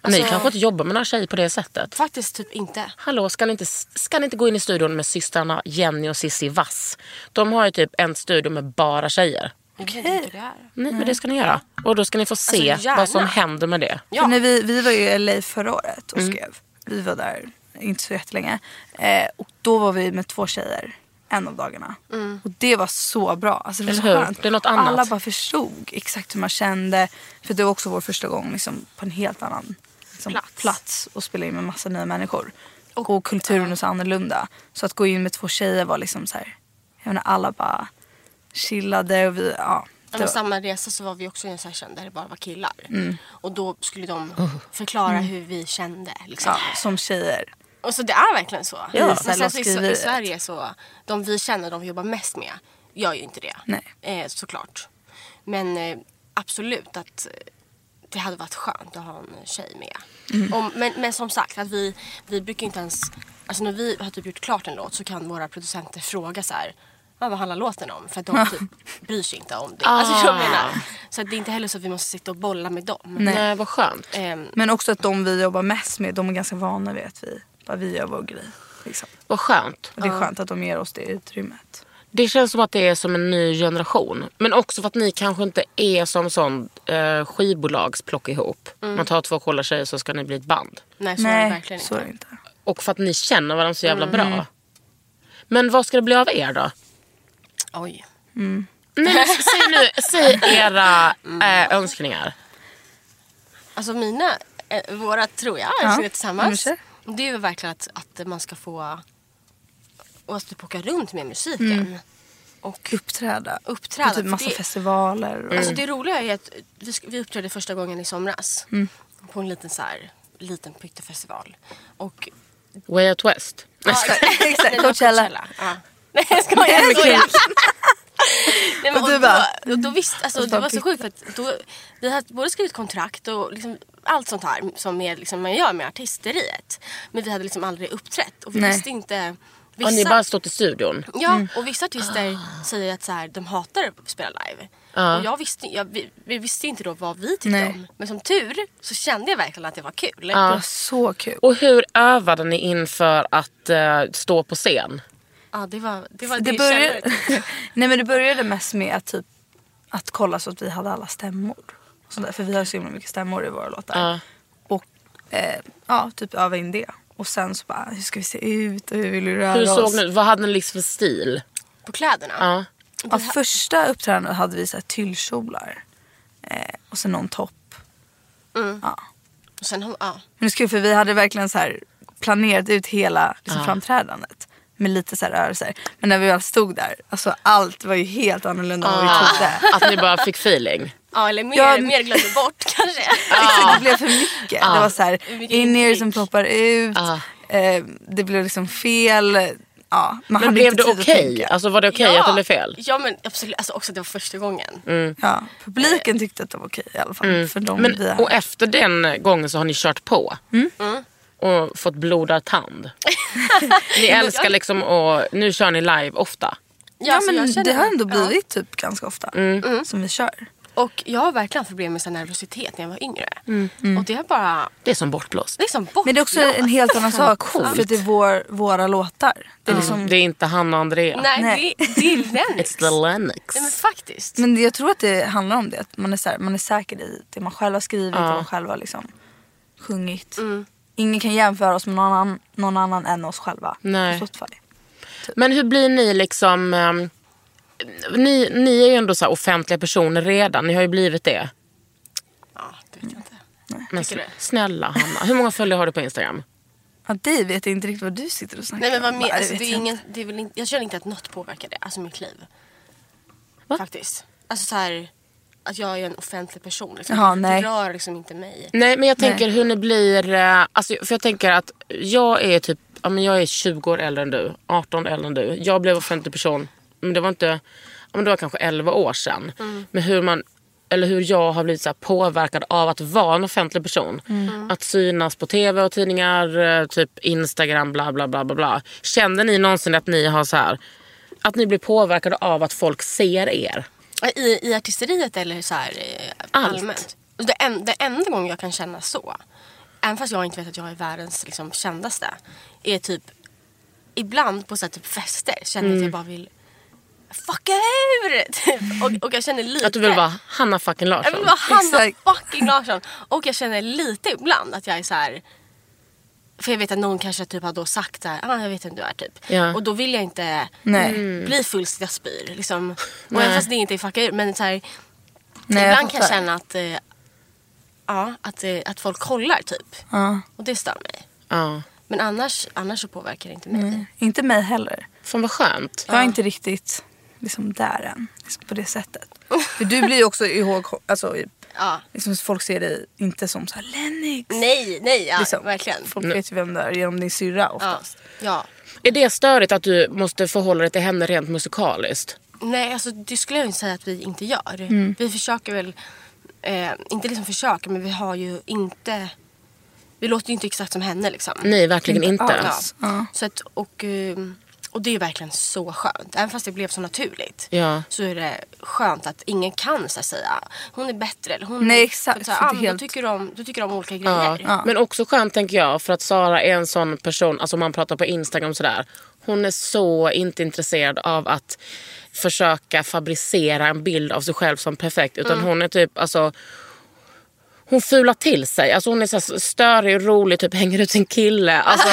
Speaker 1: Ni kanske inte jobbar med några tjejer på det sättet?
Speaker 3: Faktiskt typ inte.
Speaker 1: Hallå, ska ni, inte, ska ni inte gå in i studion med systrarna Jenny och Sissi Vass? De har ju typ en studio med bara tjejer.
Speaker 3: Okej. Jag vet inte hur det är.
Speaker 1: Nej, men det ska ni göra. Och då ska ni få se
Speaker 3: gärna.
Speaker 1: vad som händer med det.
Speaker 3: Ja.
Speaker 5: För när vi, vi var ju i LA förra året och skrev. Vi var där inte så jättelänge. Eh, och då var vi med två tjejer en av dagarna. Och det var så bra. Alltså, det var
Speaker 1: Eller
Speaker 5: så
Speaker 1: hur?
Speaker 5: skönt.
Speaker 1: Det är något annat.
Speaker 5: Alla bara förstod exakt hur man kände. För det var också vår första gång liksom, på en helt annan liksom, plats. och spela in med massa nya människor. Och, kulturen är så annorlunda. Så att gå in med två tjejer var liksom så här. Jag menar, alla bara chillade och vi, ja.
Speaker 3: Ja,
Speaker 5: det
Speaker 3: men
Speaker 5: var- Mm.
Speaker 3: samma resa så var vi också i en session där det bara var killar. Och då skulle de förklara hur vi kände. Liksom.
Speaker 5: Oh. ja, som tjejer.
Speaker 3: Och så Alltså, det är verkligen så. Men
Speaker 5: så här
Speaker 3: sen så i, så, i
Speaker 5: låtskriveriet.
Speaker 3: Sverige så, de vi känner, de vi jobbar mest med, gör ju inte det.
Speaker 5: Nej.
Speaker 3: Eh, såklart. Men eh, absolut att eh, det
Speaker 5: Mm.
Speaker 3: hade varit skönt att ha en tjej med. Om, men, men som sagt, att vi, vi brukar inte ens alltså när vi har typ gjort klart en låt så kan våra producenter fråga så här, "Ah, vad handlar låten om? För att de typ bryr sig inte om det.
Speaker 5: Ah.
Speaker 3: Alltså jag menar. Så att det är inte heller så att vi måste sitta och bolla med dem.
Speaker 1: Nej. vad skönt.
Speaker 3: Ehm,
Speaker 5: Men också att de vi jobbar mest med, de är ganska vana vid att vi, bara vi gör vår grej. Liksom.
Speaker 1: Vad skönt.
Speaker 5: Och det är skönt att de ger oss det utrymmet.
Speaker 1: Det känns som att det är som en ny generation. Men också för att ni kanske inte är som sån eh, skivbolags plocka ihop. Man tar två coola tjejer så ska ni bli ett band.
Speaker 3: nej så är det
Speaker 5: Nej,
Speaker 3: verkligen
Speaker 5: så är
Speaker 3: inte.
Speaker 5: det inte.
Speaker 1: Och för att ni känner varandra så jävla bra. Men vad ska det bli av er då?
Speaker 3: Oj.
Speaker 1: Nej, men, säg nu säg era eh, önskningar.
Speaker 3: Alltså mina, eh, våra tror jag, ja. tillsammans.
Speaker 5: Mm,
Speaker 3: Det är ju verkligen att, att man ska få och typ åka runt med musiken. Och
Speaker 5: Uppträda.
Speaker 3: Uppträda,
Speaker 5: På typ
Speaker 3: för
Speaker 5: massa
Speaker 3: det-
Speaker 5: festivaler. Och...
Speaker 3: Alltså det roliga är att vi, sk- vi uppträdde första gången i somras. På en liten så här, liten pyttefestival. Och...
Speaker 1: Way Out West.
Speaker 3: Nej, men Coachella. Ja. Nej jag skojar, jag skojar. Nej, men,
Speaker 5: Och
Speaker 3: och
Speaker 5: du
Speaker 3: då,
Speaker 5: bara- mm.
Speaker 3: och då visst, alltså,
Speaker 5: Och
Speaker 3: det
Speaker 5: bara
Speaker 3: var så sjukt för att då, vi hade både skrivit kontrakt och liksom allt sånt här som är, liksom, man gör med artisteriet. Men vi hade liksom aldrig uppträtt och vi
Speaker 5: Nej. Mm.
Speaker 3: visste inte.
Speaker 1: Har
Speaker 3: Vissa,
Speaker 1: ni bara stått i studion?
Speaker 3: ja, och vissa artister säger att så här, de hatar att spela live.
Speaker 1: Ja.
Speaker 3: Och jag visste, jag, vi, vi visste inte då vad vi tyckte
Speaker 5: Nej.
Speaker 3: om. Men som tur så kände jag verkligen att det var kul.
Speaker 5: Det
Speaker 1: Ja.
Speaker 5: var så kul.
Speaker 1: Och hur övade ni inför att eh, stå på scen?
Speaker 3: Ja, det var det, var,
Speaker 5: Det,
Speaker 3: det
Speaker 5: började...
Speaker 3: kände jag.
Speaker 5: Nej, men det började mest med att, typ, att kolla så att vi hade alla stämmor. Och sådär, för vi har så himla mycket stämmor i våra låtar.
Speaker 1: Ja.
Speaker 5: Och eh, ja, typ öva in det. Och sen så bara, hur ska vi se ut och hur vill vi röra
Speaker 1: Hur
Speaker 5: oss?
Speaker 1: såg ni Vad hade ni liksom för stil?
Speaker 3: På kläderna.
Speaker 1: Ja.
Speaker 5: Ja, Alltså, första uppträdandet hade vi så här tyllkjolar. Eh, och sen någon topp. Ja.
Speaker 3: Och sen, ja.
Speaker 5: Men det är så kul för vi hade verkligen så här planerat ut hela liksom, framträdandet. Med lite så här rörelser. Men när vi väl stod där, alltså allt var ju helt annorlunda än vad vi trodde.
Speaker 1: Att ni bara fick feeling?
Speaker 3: Ja, eller mer,
Speaker 5: Ja, men-
Speaker 3: mer glömde bort kanske.
Speaker 5: Exakt, det blev för mycket. Det var så här,
Speaker 3: mycket
Speaker 5: in-ear som
Speaker 3: intryck.
Speaker 5: ploppar ut.
Speaker 1: Ja.
Speaker 5: Eh, det blev liksom fel. Ja, man
Speaker 1: Men
Speaker 5: hade
Speaker 1: blev
Speaker 5: inte
Speaker 1: det
Speaker 5: tid att
Speaker 1: okej?
Speaker 5: tänka.
Speaker 1: Alltså var det okej att det blev fel? Mm.
Speaker 3: Ja men absolut, alltså också det var första gången.
Speaker 5: Ja, publiken tyckte att det var okej i alla fall. För de vi
Speaker 1: Men,
Speaker 5: hade.
Speaker 3: Alltså,
Speaker 1: och efter den gången så har ni kört på?
Speaker 3: Mm.
Speaker 1: Och fått blodad tand? ni älskar liksom att, nu kör ni live ofta?
Speaker 5: Ja,
Speaker 3: alltså, jag
Speaker 5: men
Speaker 3: känner-
Speaker 5: det har ändå
Speaker 3: ja.
Speaker 5: blivit typ ganska ofta
Speaker 1: Mm.
Speaker 5: som vi kör.
Speaker 3: Och jag har verkligen problem med sån nervositet när jag var yngre. Och det är bara,
Speaker 1: Det är som bortblåst.
Speaker 3: det är som bort.
Speaker 5: Mm, Men det är också en helt annan sak
Speaker 1: coolt.
Speaker 5: för det är vår, våra låtar. Det är
Speaker 3: Mm.
Speaker 5: liksom,
Speaker 1: Det är inte Hanna och Andrea.
Speaker 3: Nej,
Speaker 5: Nej.
Speaker 3: Det, det är Lennox.
Speaker 1: It's the Lennox.
Speaker 3: Nej men faktiskt.
Speaker 5: Men jag tror att det handlar om det, att man är, så här, man är säker i det man själv har skrivit, det man själv har liksom sjungit.
Speaker 3: Mm.
Speaker 5: Ingen kan jämföra oss med någon annan, någon annan än oss själva
Speaker 1: Nej.
Speaker 5: på Spotify.
Speaker 1: Men hur blir ni liksom... ehm, ni, ni är ju ändå så här offentliga personer redan. Ni har ju blivit det.
Speaker 3: Ja, det vet jag inte.
Speaker 1: Men
Speaker 3: Tycker du?
Speaker 1: snälla Hanna, hur många följare har du på Instagram?
Speaker 5: Ja, dig vet jag inte riktigt vad du sitter och snackar
Speaker 3: Nej men vad
Speaker 5: om.
Speaker 3: mer,
Speaker 5: Nej,
Speaker 3: alltså,
Speaker 5: vet
Speaker 3: det är
Speaker 5: jag
Speaker 3: ingen, det är väl inte, jag känner inte att något påverkar det, alltså mitt liv.
Speaker 1: Va?
Speaker 3: Faktiskt. Alltså så här, att jag är en offentlig person liksom.
Speaker 5: Jaha, nej.
Speaker 3: Det rör liksom inte mig.
Speaker 1: Nej men jag tänker hur ni blir, eh, alltså, för jag tänker att jag är typ, ja, men jag är 20 år äldre än du, 18 äldre än du. Jag blev offentlig person, men det var inte, ja, men det var kanske 11 år sedan. Men hur man, eller hur jag har blivit så här påverkad av att vara en offentlig person. Att synas på tv och tidningar, eh, typ Instagram, bla bla bla bla bla. Känner ni någonsin att ni har så här, att ni blir påverkade av att folk ser er?
Speaker 3: I, i artisteriet eller så här, eh,
Speaker 1: Allt.
Speaker 3: allmänt? Det, en, det enda gången jag kan känna så, även fast jag inte vet att jag är världens liksom, kändaste, är typ ibland på så här, typ fester känner jag att
Speaker 1: Mm.
Speaker 3: jag bara vill fucka ur! Typ. Och, och jag känner lite...
Speaker 1: Att du vill vara Hanna fucking
Speaker 3: Jag
Speaker 1: Larsson?
Speaker 3: vill vara Hanna
Speaker 5: Exakt.
Speaker 3: fucking Larsson. Och jag känner lite ibland att jag är så här. För jag vet att någon kanske typ har då sagt såhär, ah, jag vet vem du är typ.
Speaker 1: Ja.
Speaker 3: Och då vill jag inte Mm.
Speaker 5: Nej.
Speaker 3: bli full så jag spyr. Liksom. Och
Speaker 1: Nej.
Speaker 3: även fast det inte är fucka ur. Men så här,
Speaker 5: Nej, jag
Speaker 3: ibland kan jag
Speaker 5: fattar.
Speaker 3: känna att, eh, ja, att, eh, att folk kollar typ.
Speaker 5: Ja.
Speaker 3: Och det stör mig.
Speaker 1: Ja.
Speaker 3: Men annars, annars så påverkar det inte mig.
Speaker 5: Nej, Inte mig heller.
Speaker 1: Fan vad skönt.
Speaker 5: Jag är inte riktigt liksom, där än liksom, på det sättet. För du blir ju också ihåg, alltså, i-
Speaker 3: Ja.
Speaker 5: liksom, folk ser dig inte som så här, Lennox.
Speaker 3: Nej, nej, ja,
Speaker 5: liksom.
Speaker 3: verkligen.
Speaker 5: Folk vet ju vem du är genom din syrra
Speaker 3: Ja.
Speaker 5: oftast.
Speaker 3: ja.
Speaker 1: Är det störigt att du måste förhålla dig till henne rent musikaliskt?
Speaker 3: Nej, alltså, det skulle jag inte säga att vi inte gör.
Speaker 1: Mm.
Speaker 3: Vi försöker väl, eh, inte liksom försöker, men vi har ju inte vi låter ju inte exakt som henne liksom.
Speaker 1: Nej, verkligen inte.
Speaker 3: Ja. Så att, och, ehm, och det är verkligen så skönt. Även fast det blev så naturligt.
Speaker 1: Ja.
Speaker 3: Så är det skönt att ingen kan så här, säga hon är bättre eller hon
Speaker 5: Nej, exakt,
Speaker 3: Så här,
Speaker 5: för det är
Speaker 3: ah, men
Speaker 5: helt-
Speaker 3: då, tycker de, då tycker de om olika
Speaker 1: Ja.
Speaker 3: grejer.
Speaker 1: Men också skönt tänker jag för att Sara är en sån person, alltså om man pratar på Instagram och sådär. Hon är så inte intresserad av att försöka fabricera en bild av sig själv som perfekt. Utan
Speaker 3: Mm.
Speaker 1: hon är typ, alltså hon fular till sig. Alltså hon är så här störig och rolig, typ hänger ut sin kille. Alltså,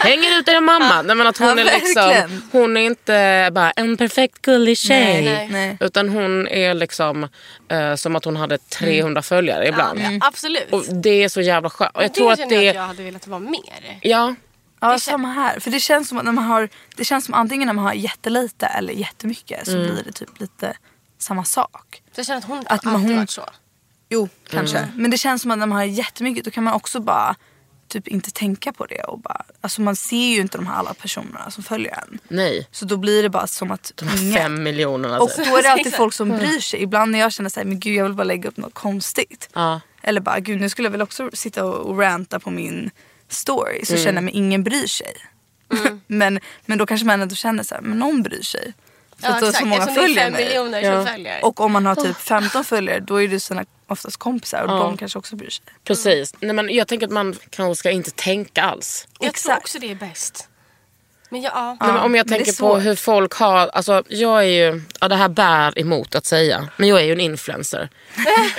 Speaker 1: hänger ut er mamma. Nej, men att hon,
Speaker 5: Ja,
Speaker 1: är liksom,
Speaker 5: verkligen.
Speaker 1: hon är inte bara en perfekt gullig tjej.
Speaker 3: Nej, Mm.
Speaker 5: nej.
Speaker 1: Utan hon är liksom eh, som att hon hade 300 följare ibland.
Speaker 3: Ja, absolut.
Speaker 1: Mm. Och det är så jävla skönt. Och jag
Speaker 3: det
Speaker 1: tror att
Speaker 3: känner jag
Speaker 1: det...
Speaker 3: att jag hade velat vara mer.
Speaker 1: Ja,
Speaker 5: Ja, samma här. För det känns som att när man har, det känns som antingen när man har jättelite eller jättemycket så
Speaker 1: Mm.
Speaker 5: blir det typ lite samma sak.
Speaker 3: Så jag känner att hon
Speaker 5: Att
Speaker 3: att
Speaker 5: man-
Speaker 3: alltid
Speaker 5: hon-
Speaker 3: varit så.
Speaker 5: Jo, kanske. Men det känns som att när man har jättemycket då kan man också bara typ inte tänka på det. Och bara, alltså man ser ju inte de här alla personerna som följer en.
Speaker 1: nej.
Speaker 5: Så då blir det bara som att
Speaker 1: De här fem miljonerna.
Speaker 5: Och
Speaker 1: typ.
Speaker 5: då är det alltid folk som
Speaker 3: Mm.
Speaker 5: bryr sig. Ibland när jag känner så här, men gud jag vill bara lägga upp något konstigt.
Speaker 1: Ja.
Speaker 5: Eller bara, gud nu skulle jag väl också sitta och, och ranta på min story.
Speaker 3: Mm.
Speaker 5: Så känner jag mig, ingen bryr sig. men, men då kanske man ändå känner så här, men någon bryr sig. För att då så många
Speaker 3: Eftersom det är
Speaker 5: följer
Speaker 3: fem
Speaker 5: mig.
Speaker 3: miljoner
Speaker 1: Ja.
Speaker 3: som följer.
Speaker 5: Och om man har typ 15 följare då är det sina oftast kompisar och
Speaker 1: Ja.
Speaker 5: de kanske också bryr sig.
Speaker 1: Precis. Nej, men jag tänker att man kanske ska inte tänka alls.
Speaker 3: jag tror
Speaker 5: Exakt.
Speaker 3: också det är bäst. Men jag, ja.
Speaker 1: Nej, men om jag
Speaker 5: men det är
Speaker 1: tänker på
Speaker 5: svårt.
Speaker 1: hur folk har... Alltså, jag är ju... Ja, det här bär emot att säga. Men jag är ju en influencer.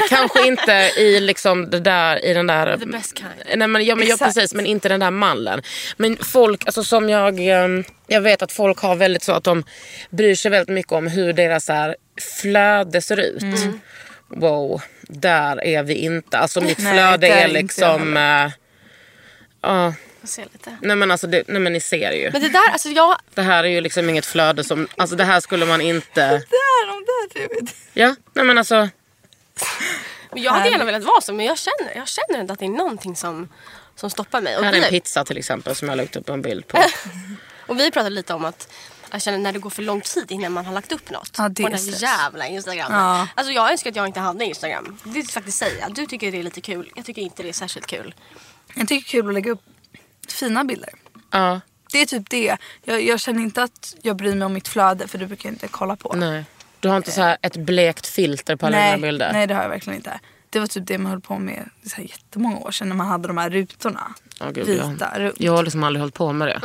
Speaker 1: Kanske inte i, liksom det där, i den där...
Speaker 3: The best kind.
Speaker 1: Nej, men, ja, men, ja,
Speaker 5: Exakt.
Speaker 1: precis, men inte den där mallen. Men folk, alltså, som jag, ehm, jag vet att folk har väldigt så att de bryr sig väldigt mycket om hur deras så här, flöde ser ut.
Speaker 5: Mm.
Speaker 1: Wow, där är vi inte. Alltså mitt
Speaker 5: Nej,
Speaker 1: flöde
Speaker 5: där
Speaker 1: är
Speaker 5: är inte
Speaker 1: liksom... eh, Ja,
Speaker 3: Får se lite.
Speaker 1: nej men alltså det, nej, men ni ser ju.
Speaker 3: Men det där, alltså jag,
Speaker 1: Det här är ju liksom inget flöde som, alltså det här skulle man inte...
Speaker 5: Där, de där du vet.
Speaker 1: Ja, nej men alltså.
Speaker 3: men jag hade gärna velat vara så men jag känner, jag känner inte att det är någonting som, som stoppar mig. Och
Speaker 1: Här är en
Speaker 3: vi-
Speaker 1: pizza till exempel som jag lagt upp en bild på.
Speaker 5: Äh.
Speaker 3: Och vi pratade lite om att jag känner när det går för lång tid innan man har lagt upp något.
Speaker 5: Ja, det
Speaker 3: på
Speaker 5: är
Speaker 3: den här
Speaker 5: stress.
Speaker 3: jävla Instagram.
Speaker 5: Ja.
Speaker 3: Alltså jag önskar att jag inte hade Instagram. Det vill jag faktiskt säga. Du tycker det är lite kul. Jag tycker inte det är särskilt kul.
Speaker 5: Jag tycker det är kul att lägga upp fina bilder.
Speaker 1: Ja,
Speaker 5: Det är typ det. Jag, jag känner inte att jag bryr mig om mitt flöde för det brukar jag inte kolla på.
Speaker 1: nej. Du har inte så här ett blekt filter på alla
Speaker 5: nej,
Speaker 1: dina bilder?
Speaker 5: Nej det har jag verkligen inte. Det var typ det man höll på med så här jättemånga år sedan när man hade de här rutorna.
Speaker 1: Ja, gud,
Speaker 5: Vita
Speaker 1: jag,
Speaker 5: runt.
Speaker 1: jag har liksom aldrig hållit på med det.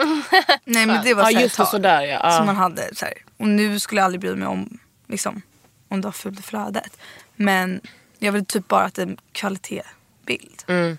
Speaker 5: Nej men det var
Speaker 1: Ja,
Speaker 5: så här
Speaker 1: just det,
Speaker 5: ett tag.
Speaker 1: sådär, ja. Ja.
Speaker 5: Som man hade så här. Och nu skulle jag aldrig bry mig om liksom, om det var fult i flödet. Men jag vill typ bara att det är en kvalitetsbild.
Speaker 1: Mm.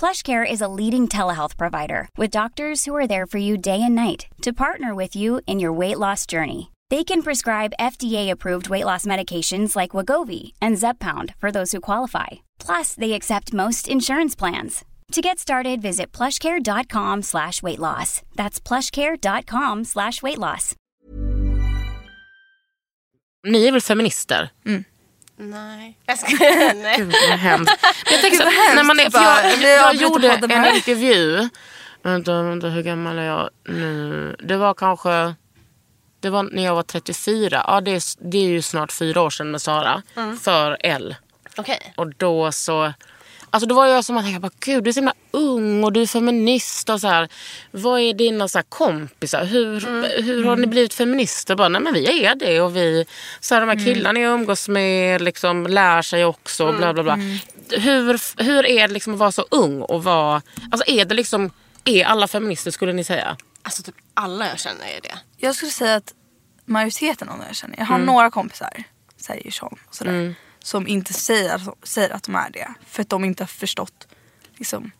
Speaker 6: PlushCare is a leading telehealth provider with doctors who are there for you day and night to partner with you in your weight loss journey. They can prescribe FDA-approved weight loss medications like Wagovi and Zepbound for those who qualify. Plus, they accept most insurance plans. To get started, visit plushcare.com slash weight loss. That's plushcare.com slash weight loss.
Speaker 1: Ni är väl feminister?
Speaker 5: Mm.
Speaker 3: Nej. Jag skojar. Nej.
Speaker 1: Gud vad hemskt. Men Jag tänker så,
Speaker 5: Gud, vad
Speaker 1: när man är,
Speaker 5: hemskt.
Speaker 1: för
Speaker 5: Bara,
Speaker 1: jag,
Speaker 5: vi
Speaker 1: jag
Speaker 5: avbryter
Speaker 1: gjorde
Speaker 5: podden
Speaker 1: en
Speaker 5: här.
Speaker 1: intervju. Vänta, vänta, hur gammal är jag nu? Det var kanske... Det var när jag var 34. Ja, det, är, s- det är ju snart fyra år sedan med Sara.
Speaker 5: Mm.
Speaker 1: För L.
Speaker 3: Okej.
Speaker 1: Och då så... Alltså då var jag som att jag bara, gud du är så himla ung och du är feminist och så här. Vad är dina så här, kompisar? Hur,
Speaker 5: Mm.
Speaker 1: hur har ni blivit feminister? Bara, nej men vi är det och vi, så här, de
Speaker 5: Mm.
Speaker 1: här killarna jag umgås med liksom, lär sig också och bla bla bla.
Speaker 5: Mm.
Speaker 1: Hur, hur är det liksom att vara så ung och vara, alltså är det liksom, är alla feminister skulle ni säga?
Speaker 3: Alltså typ alla jag känner är det.
Speaker 5: Jag skulle säga att majoriteten av dem jag känner, jag
Speaker 1: Mm.
Speaker 5: har några kompisar så här i Djursholm och sådär, som inte säger, säger att de är det. För att de inte har förstått liksom,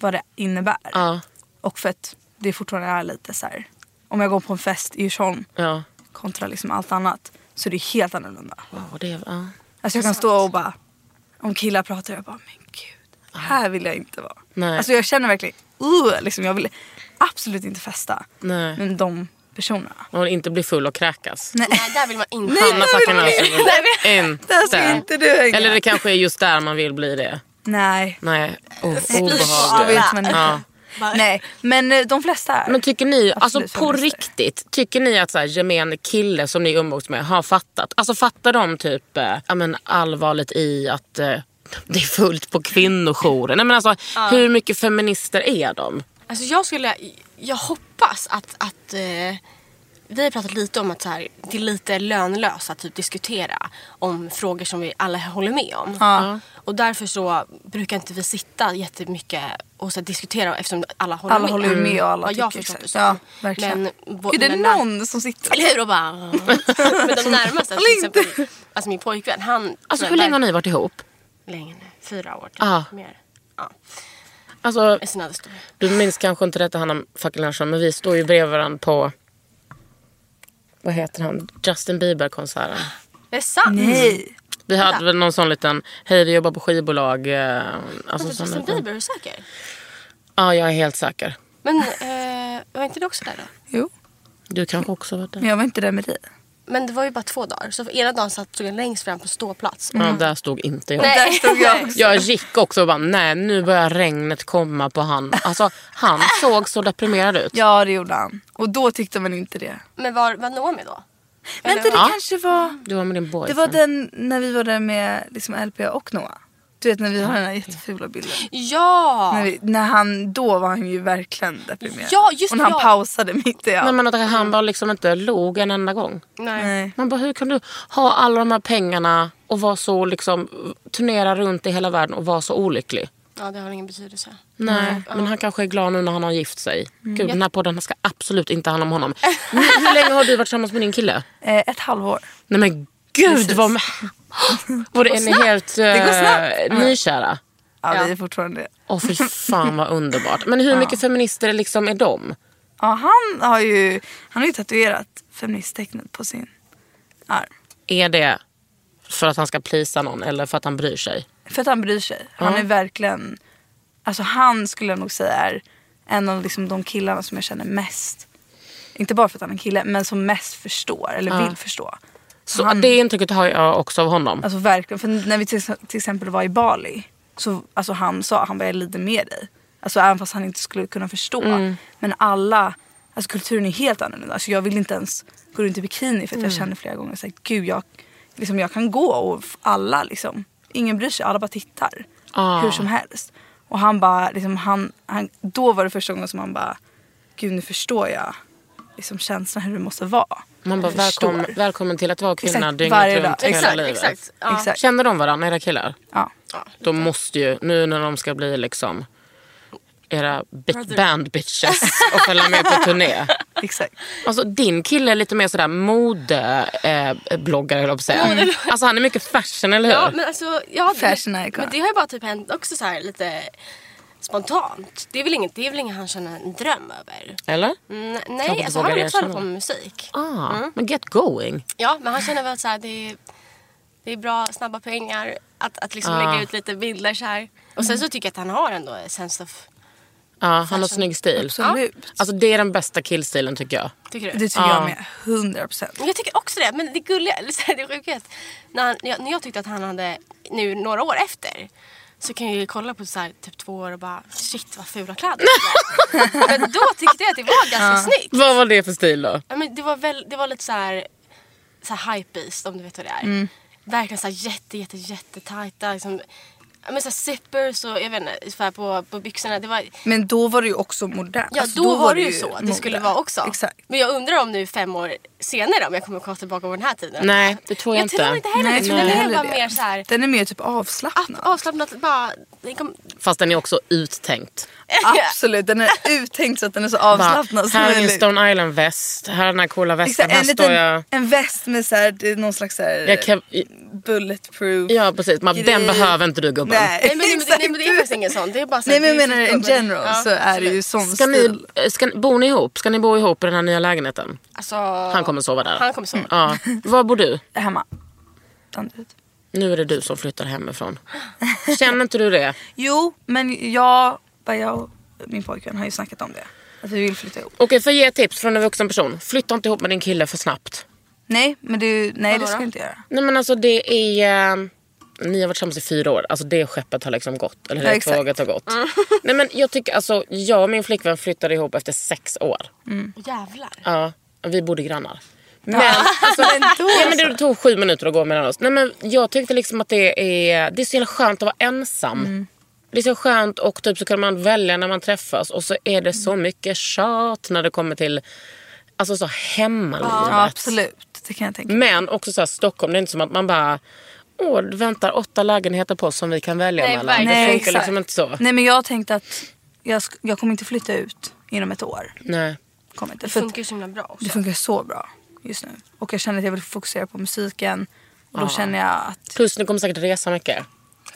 Speaker 5: vad det innebär.
Speaker 1: Ja.
Speaker 5: Och för att det fortfarande är lite så här. om jag går på en fest i Djursholm
Speaker 1: Ja.
Speaker 5: kontra liksom allt annat så är det helt annorlunda.
Speaker 1: Wow, det, ja.
Speaker 5: Alltså jag kan stå och bara, om killar pratar jag bara men gud. Här vill jag inte vara.
Speaker 1: Nej.
Speaker 5: Alltså jag känner verkligen, uh, liksom jag vill absolut inte festa
Speaker 1: Nej.
Speaker 5: med de personerna.
Speaker 1: Och inte bli full och kräkas.
Speaker 5: Nej.
Speaker 3: Nej, där vill man inte.
Speaker 5: Nej,
Speaker 1: Hanna
Speaker 5: där vill
Speaker 1: fucking
Speaker 5: man
Speaker 1: Alsing.
Speaker 5: inte. Där ska Alltså, inte du hänga.
Speaker 1: Eller det kanske är just där man vill bli det.
Speaker 5: Nej.
Speaker 1: Nej, oh,
Speaker 5: Så
Speaker 1: obehagligt.
Speaker 5: vet man inte.
Speaker 1: Ja.
Speaker 5: Nej, men eh, de flesta är.
Speaker 1: Men tycker ni, alltså
Speaker 5: Absolut
Speaker 1: på
Speaker 5: feminister.
Speaker 1: riktigt, tycker ni att så här, gemene kille som ni umgås med har fattat? Alltså fattar de typ eh, ja, men allvarligt i att eh, det är fullt på kvinnojouren? Nej, men alltså, Hur mycket feminister är de?
Speaker 3: Alltså jag skulle, jag hoppas att, att eh, vi har pratat lite om att så här, det är lite lönlöst att typ diskutera om frågor som vi alla håller med om.
Speaker 5: Ja.
Speaker 3: Och därför så brukar inte vi sitta jättemycket och så här, diskutera eftersom alla håller
Speaker 5: Alla
Speaker 3: med.
Speaker 5: håller ju med och alla
Speaker 3: Vad jag
Speaker 5: tycker
Speaker 3: förstått
Speaker 5: exakt.
Speaker 3: det
Speaker 5: Ja,
Speaker 3: som.
Speaker 5: verkligen.
Speaker 3: vår-
Speaker 5: är det
Speaker 3: men när-
Speaker 5: någon som sitter?
Speaker 3: Eller hur? Och bara... Men de närmaste, till
Speaker 5: inte.
Speaker 3: exempel alltså min pojkvän, han...
Speaker 1: Alltså hur länge har ni varit ihop?
Speaker 3: Länge nu. Fyra år. typ.
Speaker 1: Ja.
Speaker 3: Mer. Ja.
Speaker 1: Alltså,
Speaker 3: It's another story.
Speaker 1: du minns kanske inte detta Hanna fucking Larsson, men vi står ju bredvid varandra på vad heter han? Justin Bieber-konserten.
Speaker 3: Det är sant!
Speaker 5: Nej.
Speaker 1: Vi hade väl någon sån liten, hej vi jobbar på skivbolag. eh, Alltså,
Speaker 3: Alltså,
Speaker 1: sån
Speaker 3: Justin
Speaker 1: liten-
Speaker 3: Bieber, är du säker?
Speaker 1: Ja, jag är helt säker.
Speaker 3: Men eh, var inte du också där då?
Speaker 5: Jo,
Speaker 1: Du kanske också har varit där?
Speaker 5: men jag var inte där med dig.
Speaker 3: Men det var ju bara två dagar. Så ena dagen satt stod jag längst fram på ståplats.
Speaker 1: Ja, där stod inte jag.
Speaker 5: Mm. Där stod jag också.
Speaker 1: Jag gick också och bara, nej nu börjar regnet komma på han. Alltså han såg så deprimerad ut.
Speaker 5: Ja, det gjorde han. Och då tyckte man inte det.
Speaker 3: Men var, var Naomi då?
Speaker 5: Vänta, det
Speaker 1: Ja.
Speaker 5: kanske var...
Speaker 1: Du var med din
Speaker 5: Det
Speaker 1: boyfriend.
Speaker 5: var den när vi var där med liksom LP och Noah. Du vet när vi har den här jättefula bilden.
Speaker 3: Ja!
Speaker 5: När, vi, när han, då var han ju verkligen deprimerad.
Speaker 3: Ja, just
Speaker 5: och när han
Speaker 3: ja.
Speaker 5: pausade mitt i allt.
Speaker 1: Nej, men att han bara liksom inte log en enda gång.
Speaker 3: Nej.
Speaker 5: Nej.
Speaker 1: Man bara, hur kan du ha alla de här pengarna och vara så liksom, turnera runt i hela världen och vara så olycklig?
Speaker 3: Ja, det har ingen betydelse.
Speaker 1: Nej, Mm. men han kanske är glad nu när han har gift sig. Gud, den här podden ska absolut inte handla om honom. Men hur länge har du varit tillsammans med din kille?
Speaker 5: Eh, ett halvår.
Speaker 1: Nej men gud vad... Var det, är ni helt
Speaker 5: Det går snabbt.
Speaker 1: uh, nykära?
Speaker 5: Ja,
Speaker 3: Ja.
Speaker 5: vi är fortfarande det.
Speaker 1: Åh fy fan vad underbart. Men hur mycket feminister liksom är de?
Speaker 5: Ja, han har ju, han har ju tatuerat feministtecknet på sin arm.
Speaker 1: Är det för att han ska plisa någon eller för att han bryr sig?
Speaker 5: För att han bryr sig. Han
Speaker 1: Ja.
Speaker 5: är verkligen, alltså han skulle jag nog säga är en av liksom de killarna som jag känner mest. Inte bara för att han är kille, men som mest förstår eller vill förstå.
Speaker 1: Så
Speaker 5: han-
Speaker 1: Det intrycket har jag också av honom.
Speaker 5: Mm. Alltså verkligen, för när vi till, till exempel var i Bali så alltså han sa han bara jag lider med dig. Alltså även fast han inte skulle kunna förstå.
Speaker 1: Mm.
Speaker 5: Men alla, alltså kulturen är helt annorlunda. Alltså jag vill inte ens gå runt i bikini för att
Speaker 1: Mm.
Speaker 5: jag känner flera gånger att gud jag, liksom, jag kan gå och f- alla liksom, ingen bryr sig, alla bara tittar.
Speaker 1: Ah.
Speaker 5: Hur som helst. Och han bara, liksom, han, han, då var det första gången som han bara, gud nu förstår jag liksom, känslan hur det måste vara.
Speaker 1: Man bara,
Speaker 5: Jag förstår.
Speaker 1: välkommen, välkommen till att vara kvinna
Speaker 5: Exakt,
Speaker 1: dygnet
Speaker 5: varje
Speaker 1: runt
Speaker 5: dag.
Speaker 1: hela
Speaker 5: Exakt,
Speaker 1: livet.
Speaker 3: exakt. Ja.
Speaker 5: Exakt.
Speaker 1: Känner de varandra, era killar?
Speaker 5: Ja.
Speaker 1: De måste ju, nu när de ska bli liksom era bit- band bitches och följa med på turné.
Speaker 5: Exakt.
Speaker 1: Alltså din kille är lite mer sådär modebloggare eh, bloggare, höll jag på att säga. Alltså han är mycket fashion eller hur?
Speaker 3: Ja, men alltså... Ja, det-
Speaker 5: Fashion icon.
Speaker 3: Men det har ju bara typ hänt också så här lite spontant. Det är väl inget, det är väl inget han känner en dröm över.
Speaker 1: Eller?
Speaker 3: Mm,
Speaker 1: inte
Speaker 3: nej, alltså,
Speaker 1: vågar
Speaker 3: han vill också hålla
Speaker 1: erkänna.
Speaker 3: på med musik.
Speaker 1: Ah,
Speaker 5: Mm.
Speaker 1: Men get going.
Speaker 3: Ja, men han känner väl att så här, det, är, det är bra, snabba pengar. Att, att liksom
Speaker 1: Ja.
Speaker 3: lägga ut lite bilder så här. Och sen så tycker jag att han har ändå a sense of...
Speaker 1: Ja, han har snygg stil.
Speaker 5: Absolut.
Speaker 1: Ja. Alltså det är den bästa killstilen tycker jag.
Speaker 3: Tycker du?
Speaker 5: Det tycker
Speaker 1: Ja.
Speaker 5: jag med. 100 procent.
Speaker 3: Men Jag tycker också det. Men det gulliga, eller så här, det sjuka är att när, han, när jag, när jag tyckte att han hade, nu några år efter, så kan jag ju kolla på så här, typ två år och bara shit vad fula kläder han hade. Men då tyckte jag att det var ganska snyggt.
Speaker 1: Vad var det för stil då?
Speaker 3: Ja, men det, var väl, det var lite så här, så här hypebeast om du vet vad det är.
Speaker 5: Mm.
Speaker 3: Verkligen så här jätte jätte jätte tajta liksom, ja, men så här zippers och jag vet inte, så här på, på byxorna. Det var,
Speaker 5: Men då var det ju också modernt.
Speaker 3: ja
Speaker 5: Alltså,
Speaker 3: då, var det ju så det
Speaker 5: mode.
Speaker 3: skulle vara också.
Speaker 5: Exakt.
Speaker 3: Men jag undrar om nu fem år senare om jag kommer kolla tillbaka på den här tiden.
Speaker 1: Nej, det tror jag
Speaker 3: jag
Speaker 1: inte.
Speaker 3: tror inte heller
Speaker 5: Nej,
Speaker 3: det.
Speaker 5: jag tror
Speaker 3: Jag tror den
Speaker 5: inte
Speaker 3: är
Speaker 5: heller
Speaker 3: bara
Speaker 5: det.
Speaker 3: mer så här
Speaker 5: Den är mer typ avslappnad.
Speaker 3: avslappnat. Bara, det kom,
Speaker 1: Fast den är också uttänkt.
Speaker 5: Absolut, den är uttänkt så att den är så avslappnad som
Speaker 1: här är min
Speaker 5: möjligt.
Speaker 1: Stone Island-väst. Här är den här coola västen.
Speaker 5: Exakt,
Speaker 1: Här
Speaker 5: en,
Speaker 1: står
Speaker 5: liten,
Speaker 1: jag...
Speaker 5: en väst med så här, det är någon slags så här,
Speaker 1: jag kan...
Speaker 5: bulletproof.
Speaker 1: Ja precis, Man, den
Speaker 5: grej.
Speaker 1: behöver inte du gubben.
Speaker 5: Nej,
Speaker 3: nej, men, nej, men, det-
Speaker 5: exakt.
Speaker 3: nej men det är faktiskt ingen sån. Det är bara så
Speaker 5: Nej
Speaker 3: här,
Speaker 5: men jag
Speaker 3: det är
Speaker 5: menar in
Speaker 3: sitt jobb.
Speaker 5: general
Speaker 3: Ja,
Speaker 5: så är det ju
Speaker 3: absolut.
Speaker 5: sån
Speaker 1: Ska ni, eh,
Speaker 5: stil.
Speaker 1: ska, ni- bor ni ihop? Ska ni bo ihop i den här nya lägenheten?
Speaker 3: Alltså,
Speaker 5: Mm.
Speaker 1: Han kommer sova där.
Speaker 3: Han kommer sova.
Speaker 1: Ja. Var bor du?
Speaker 5: Hemma. Danderyd.
Speaker 1: Nu är det du som flyttar hemifrån. Känner inte du det?
Speaker 5: Jo, men jag, bara jag och min pojkvän har ju snackat om det. Att vi vill flytta ihop.
Speaker 1: Okej, får jag ge ett tips från en vuxen person? Flytta inte ihop med din kille för snabbt.
Speaker 5: Nej, men du, nej det ska jag inte göra.
Speaker 1: Nej men alltså det är... eh, Ni har varit tillsammans i fyra år. Alltså det skeppet har liksom gått. Eller
Speaker 5: Ja,
Speaker 1: det
Speaker 5: exakt.
Speaker 1: tåget har gått. Nej men jag tycker alltså, jag och min flickvän flyttade ihop efter sex år.
Speaker 3: Jävlar.
Speaker 1: Ja, vi bodde grannar. Men, alltså, ja, men det tog sju minuter att gå mellan oss. Nej, men jag tyckte liksom att det är, det är så jävla skönt att vara ensam. Det är så skönt och typ så kan man välja när man träffas och så är det så mycket tjat när det kommer till alltså så hemmalivet.
Speaker 5: Ja, absolut. Det kan jag tänka mig.
Speaker 1: Men också så här, Stockholm, det är inte som att man bara Åh, det väntar åtta lägenheter på oss som vi kan välja
Speaker 3: Nej,
Speaker 1: mellan. Det
Speaker 3: verkligen.
Speaker 1: funkar
Speaker 5: exakt.
Speaker 1: liksom inte så.
Speaker 5: Nej men jag tänkte att jag, sk- jag kommer inte flytta ut inom ett år.
Speaker 1: Nej.
Speaker 5: Kommer inte.
Speaker 3: Det
Speaker 5: För att-
Speaker 3: funkar ju så himla bra också.
Speaker 5: Det funkar så bra just nu. Och jag känner att jag vill fokusera på musiken. Och då känner jag att
Speaker 1: Plus ni kommer säkert resa mycket.
Speaker 5: jag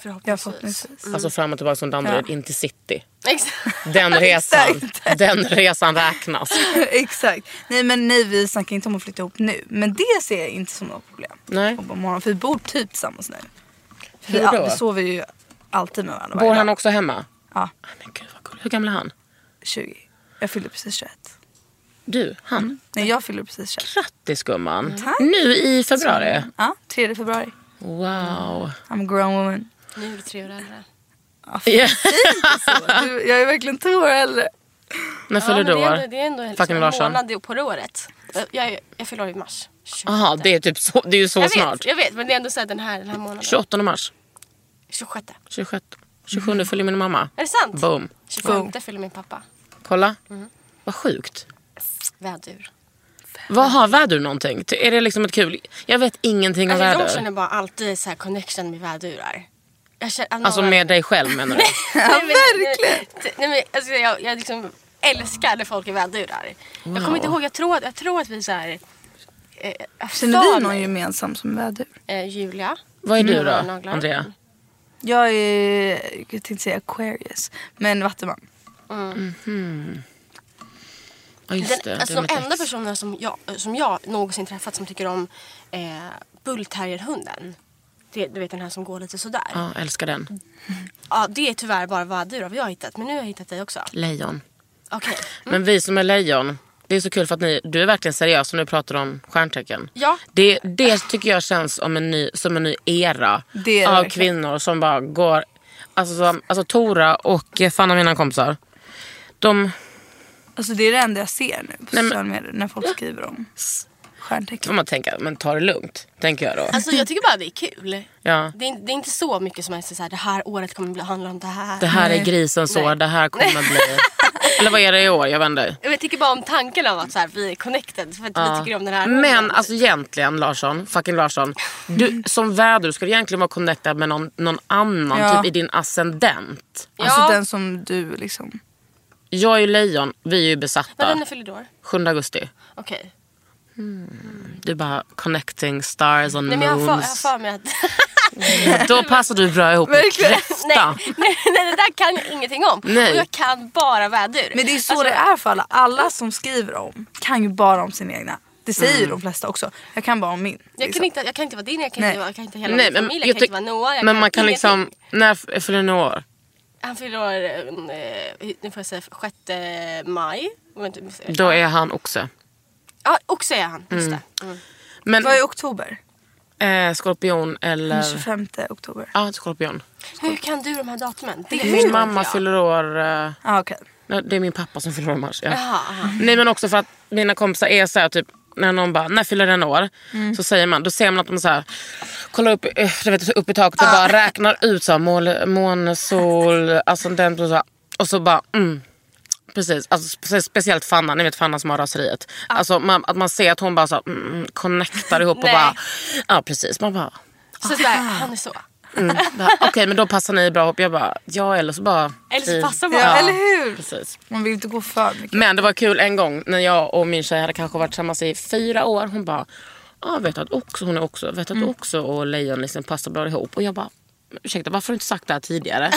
Speaker 3: Förhoppningsvis.
Speaker 5: förhoppningsvis...
Speaker 1: Alltså fram och tillbaka från Danderyd in till city.
Speaker 3: Exakt.
Speaker 1: Den resan,
Speaker 5: Exakt.
Speaker 1: den resan räknas.
Speaker 5: Exakt. Nej men nej vi snackar inte om att flytta ihop nu. Men det ser jag inte som något problem.
Speaker 1: Nej.
Speaker 5: Och på morgonen, för vi bor typ tillsammans nu. För vi,
Speaker 1: Hur då?
Speaker 5: vi sover ju alltid med varandra. varje
Speaker 1: Bor han
Speaker 5: dag.
Speaker 1: också hemma?
Speaker 5: Ja,
Speaker 1: Ah, Men gud vad kul. Hur gammal är han?
Speaker 5: 20. Jag fyller precis 21.
Speaker 1: Du, han?
Speaker 3: Mm.
Speaker 5: Nej jag fyller precis 21.
Speaker 1: Grattis gumman. Nu i februari.
Speaker 5: Ja, 3 februari.
Speaker 3: Mm.
Speaker 1: Wow.
Speaker 5: I'm a grown woman.
Speaker 3: Nu är du tre år äldre.
Speaker 1: Ja.
Speaker 5: Du, jag är verkligen två år äldre.
Speaker 1: När fyller
Speaker 3: men
Speaker 1: du
Speaker 3: det, är
Speaker 1: år?
Speaker 3: ändå, det är ändå liksom
Speaker 1: Fucking
Speaker 3: en
Speaker 1: Larsson.
Speaker 3: månad på det året. Jag, jag, jag fyller år i mars.
Speaker 1: Jaha, det är typ så, det är ju så
Speaker 3: jag
Speaker 1: snart.
Speaker 3: Vet, jag vet, men det är ändå så här den här, den här månaden.
Speaker 1: 28 mars.
Speaker 3: 26.
Speaker 1: 26.
Speaker 3: Mm.
Speaker 1: 27 fyller min mamma.
Speaker 3: Är det sant?
Speaker 1: Boom.
Speaker 3: 25 fyller min pappa.
Speaker 1: Kolla.
Speaker 3: Mm.
Speaker 1: Vad sjukt.
Speaker 3: Vädur.
Speaker 1: Vad har vädur någonting? Ty- Är det liksom ett kul... Jag vet ingenting om
Speaker 3: Alltså, jag
Speaker 1: väder.
Speaker 3: känner bara alltid så här connection med vädurar. Jag känner, att
Speaker 1: Alltså
Speaker 3: någon-
Speaker 1: med dig själv menar du?
Speaker 3: Nej, men, verkligen. Nej, men, alltså, jag, jag liksom älskar när folk är vädurar. Jag kommer inte ihåg, jag tror, att- jag tror att vi så här... Eh, jag
Speaker 5: Känner
Speaker 3: sa
Speaker 5: vi någon
Speaker 3: nu,
Speaker 5: gemensam som är vädur?
Speaker 3: eh, Julia.
Speaker 1: Vad är du
Speaker 3: Mm.
Speaker 1: då,
Speaker 3: Naglar.
Speaker 1: Andrea?
Speaker 5: Jag är, jag tänkte säga Aquarius, men vattenman.
Speaker 1: Ja just det.
Speaker 3: Den, alltså,
Speaker 1: det är
Speaker 3: de
Speaker 1: mitt ex.
Speaker 3: enda personerna som jag, som jag någonsin träffat som tycker om eh, bullterrierhunden. Det, du vet den här som går lite sådär. Ja.
Speaker 1: Ja, älskar den.
Speaker 3: det är tyvärr bara vad du har jag hittat. Men nu har jag hittat dig också.
Speaker 1: Lejon.
Speaker 3: Okej.
Speaker 1: Mm. Men vi som är lejon, det är så kul för att ni, du är verkligen seriös och nu pratar om stjärntecken.
Speaker 3: Ja.
Speaker 1: Det, det tycker jag känns som en ny, som en ny era
Speaker 5: Det är det
Speaker 1: av
Speaker 5: verkligen.
Speaker 1: kvinnor som bara går... Alltså, som, alltså Tora och eh, Fanna, mina kompisar. De,
Speaker 5: Alltså det är det enda jag ser nu på
Speaker 1: men-
Speaker 5: sociala medier när folk skriver om
Speaker 1: får
Speaker 5: stjärntecken.
Speaker 1: man tänka, men ta det lugnt. Tänker jag då.
Speaker 3: Alltså jag tycker bara det är kul.
Speaker 1: Ja.
Speaker 3: Det, är, det är inte så mycket som är så här, det här året kommer att handla om det här.
Speaker 1: Det här är grisens år,
Speaker 3: Nej.
Speaker 1: det här kommer att bli... Eller vad är det i år? Jag vet inte.
Speaker 3: Jag tycker bara om tanken av att så här, vi är connected för att vi tycker om den här
Speaker 1: Men
Speaker 3: hunden.
Speaker 1: alltså egentligen Larsson, fucking Larsson. Du, som väder ska du egentligen vara connectad med någon, någon annan
Speaker 5: Ja.
Speaker 1: typ i din ascendent.
Speaker 5: Alltså
Speaker 3: Ja.
Speaker 5: den som du liksom...
Speaker 1: Jag är ju lejon, vi är ju
Speaker 3: När
Speaker 1: besatta.
Speaker 3: den är fyller då?
Speaker 1: 7 augusti.
Speaker 3: Okej.
Speaker 1: Du bara connecting stars and
Speaker 3: Nej men jag har för- jag har
Speaker 1: moons.
Speaker 3: för mig att...
Speaker 1: Då passar du bra ihop med kräfta.
Speaker 3: Nej, nej, nej, det där kan jag ingenting om.
Speaker 1: Nej.
Speaker 3: Och jag kan bara vädur.
Speaker 5: Men det är så
Speaker 3: Alltså,
Speaker 5: det är för alla. Alla som skriver om kan ju bara om sin egna. Det säger ju de flesta också. Mm. Jag kan bara om min.
Speaker 3: Jag
Speaker 5: liksom.
Speaker 3: kan, inte, jag kan inte vara din, jag kan,
Speaker 5: Nej.
Speaker 3: inte, vara- jag kan inte hela
Speaker 1: Nej,
Speaker 3: min
Speaker 1: men
Speaker 3: familj, jag,
Speaker 1: jag
Speaker 3: kan inte
Speaker 1: tyck-
Speaker 3: vara Noah. Jag
Speaker 1: Men man kan
Speaker 3: ingenting.
Speaker 1: liksom, när fyller ni år?
Speaker 3: Han fyller år, eh, nu får jag säga 6 maj. Om jag inte missar.
Speaker 1: Då är han också.
Speaker 3: Ja, också är han. Just det. Mm.
Speaker 1: Men
Speaker 5: Vad är oktober?
Speaker 1: eh, skorpion
Speaker 5: Den
Speaker 1: eller...
Speaker 5: 25 oktober. Ja
Speaker 1: Ja, skorpion.
Speaker 3: Hur kan du de här datumen? Det förstår
Speaker 1: Min
Speaker 3: inte
Speaker 1: mamma
Speaker 3: jag.
Speaker 1: fyller år... Eh,
Speaker 5: ah, okej.
Speaker 1: nej, det är min pappa som fyller år i mars. Ja.
Speaker 3: Jaha, aha.
Speaker 1: Nej men också för att mina kompisar är så här typ när någon bara, när fyller den år? Så säger man, då ser man att de så här, kollar upp, eh, du vet, upp i taket och bara räknar ut så här, mål, måne, sol, alltså den och så här, Och så bara, mm. Precis, alltså, spe- speciellt Fanna, ni vet Fanna som har raseriet. Alltså, man, att man ser att hon bara så här, mm, connectar ihop och
Speaker 3: Nej.
Speaker 1: bara, ja precis. Man bara,
Speaker 3: Så sådär, han är så.
Speaker 1: mm, bara, okej men då Typ. passar ni bra ihop. Jag bara, ja eller så bara.
Speaker 3: Eller så
Speaker 1: vi-
Speaker 3: passar man.
Speaker 5: Ja, eller hur?
Speaker 1: Precis.
Speaker 5: Man vill inte gå för mycket.
Speaker 1: Men det var kul en gång när jag och min tjej hade kanske varit tillsammans i fyra år. Hon bara, ah, vet att också, hon är också, vet
Speaker 3: Mm.
Speaker 1: att också och lejon liksom passar bra ihop. Och jag bara, ursäkta varför har du inte sagt det här tidigare?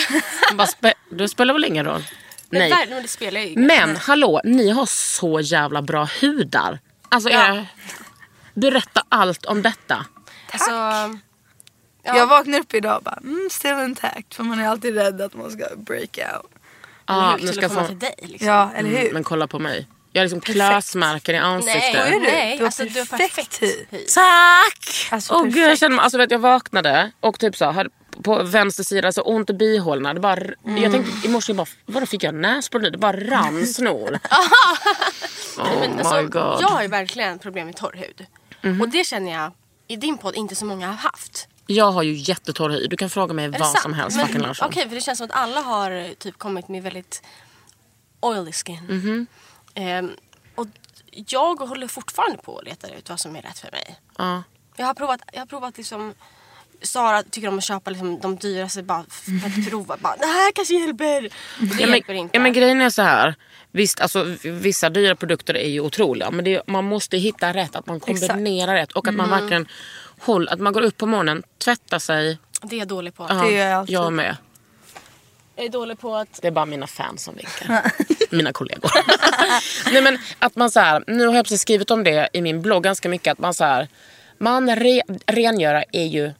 Speaker 1: Hon bara, "Spe- det spelar väl ingen roll?
Speaker 3: Nej.
Speaker 1: Nej.
Speaker 3: Det, där, men det spelar ju ingen
Speaker 1: Men hallå, ni har så jävla bra hudar. Alltså era, berätta allt om detta.
Speaker 3: Alltså,
Speaker 5: Jag vaknade upp idag och bara, mm, still intact. För man är alltid rädd att man ska break out.
Speaker 1: Ja, nu ska jag få-
Speaker 3: liksom.
Speaker 5: Ja, eller hur?
Speaker 1: Mm, men kolla på mig. Jag har liksom klösmärken i ansiktet.
Speaker 5: Vad är du?
Speaker 3: nej,
Speaker 5: du har
Speaker 3: alltså, du har
Speaker 5: perfekt hy.
Speaker 1: Tack!
Speaker 5: Alltså,
Speaker 1: Åh gud, jag,
Speaker 5: perfekt.
Speaker 1: känner, mig- alltså, vet, jag vaknade och typ så, hade på vänster sida så ont i bihålorna. Det bara,
Speaker 3: Mm.
Speaker 1: Jag tänkte i morse, jag bara, vadå fick jag näsblod nu? Det bara rann snor. oh
Speaker 3: Men,
Speaker 1: my
Speaker 3: alltså,
Speaker 1: god. Mhm.
Speaker 3: Jag har ju verkligen problem med torr hud. Och det känner jag i din podd inte så många har haft.
Speaker 1: Jag har ju jättetorr hy. Du kan fråga mig
Speaker 3: Är
Speaker 1: vad
Speaker 3: det sant?
Speaker 1: som helst.
Speaker 3: Men-
Speaker 1: fucking Larsson.
Speaker 3: Okej, för det känns som att alla har eh, typ kommit med väldigt oily skin.
Speaker 1: Mhm.
Speaker 3: Ehm, och jag håller fortfarande på och letar ut vad som är rätt för mig.
Speaker 1: Ja.
Speaker 3: Jag har provat, jag har provat liksom Sara tycker om att köpa liksom de dyraste bara f- för att prova. Bara, det här kanske hjälper. Och Det
Speaker 1: Ja,
Speaker 3: hjälper
Speaker 1: men,
Speaker 3: inte.
Speaker 1: ja, men grejen är så här. Visst, alltså, v- vissa dyra produkter är ju otroliga. Men det, är- man måste hitta rätt. Att man kombinerar rätt. Och att
Speaker 3: Mm.
Speaker 1: man verkligen håller, att man går upp på morgonen, tvättar sig.
Speaker 3: det är jag dålig på.
Speaker 1: Ja,
Speaker 5: gör jag alltid.
Speaker 1: jag med.
Speaker 3: Jag är dålig på att...
Speaker 1: Det är bara mina fans som vinkar. mina kollegor. Nej, men att man så här, nu har jag precis skrivit om det i min blogg ganska mycket. Att man så här, man re, rengöra är ju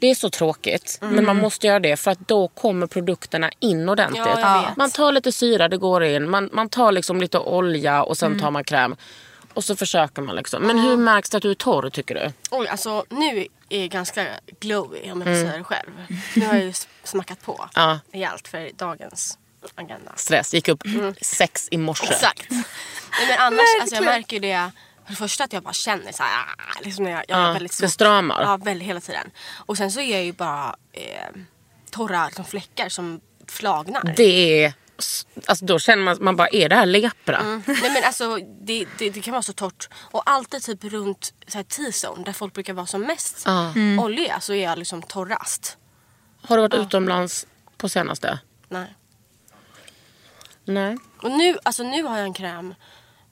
Speaker 1: det är så tråkigt, men man måste göra det för att då kommer produkterna in ordentligt.
Speaker 3: Ja, jag vet.
Speaker 1: man tar lite syra, det går in. Man, man tar liksom lite olja och sen tar man kräm. Och så försöker man. liksom. Men hur märks det att du är torr tycker du?
Speaker 3: Oj, alltså nu är jag ganska glowy om jag får säga det själv. Nu har jag ju s- smackat på
Speaker 1: Mm. Ja.
Speaker 3: rejält för dagens agenda.
Speaker 1: Stress. Gick upp
Speaker 3: Mm.
Speaker 1: sex i morse.
Speaker 3: Exakt. Nej, men annars, alltså, jag märker ju det för det första att jag bara känner så här, ah, liksom när jag, jag
Speaker 1: Ja,
Speaker 3: har väldigt
Speaker 1: det
Speaker 3: svårt.
Speaker 1: stramar.
Speaker 3: Ja, väldigt hela tiden. Och sen så är jag ju bara eh, torra liksom, fläckar som flagnar.
Speaker 1: Det är... Alltså då känner man, man bara, är det här lepra?
Speaker 3: Mm. Nej men alltså det, det, det kan vara så torrt. Och alltid typ runt så här T-zone där folk brukar vara som mest
Speaker 1: Ja. Mm.
Speaker 3: olja så är jag liksom torrast.
Speaker 1: Har du varit utomlands på senaste?
Speaker 3: Nej.
Speaker 1: Nej.
Speaker 3: Och nu, alltså nu har jag en kräm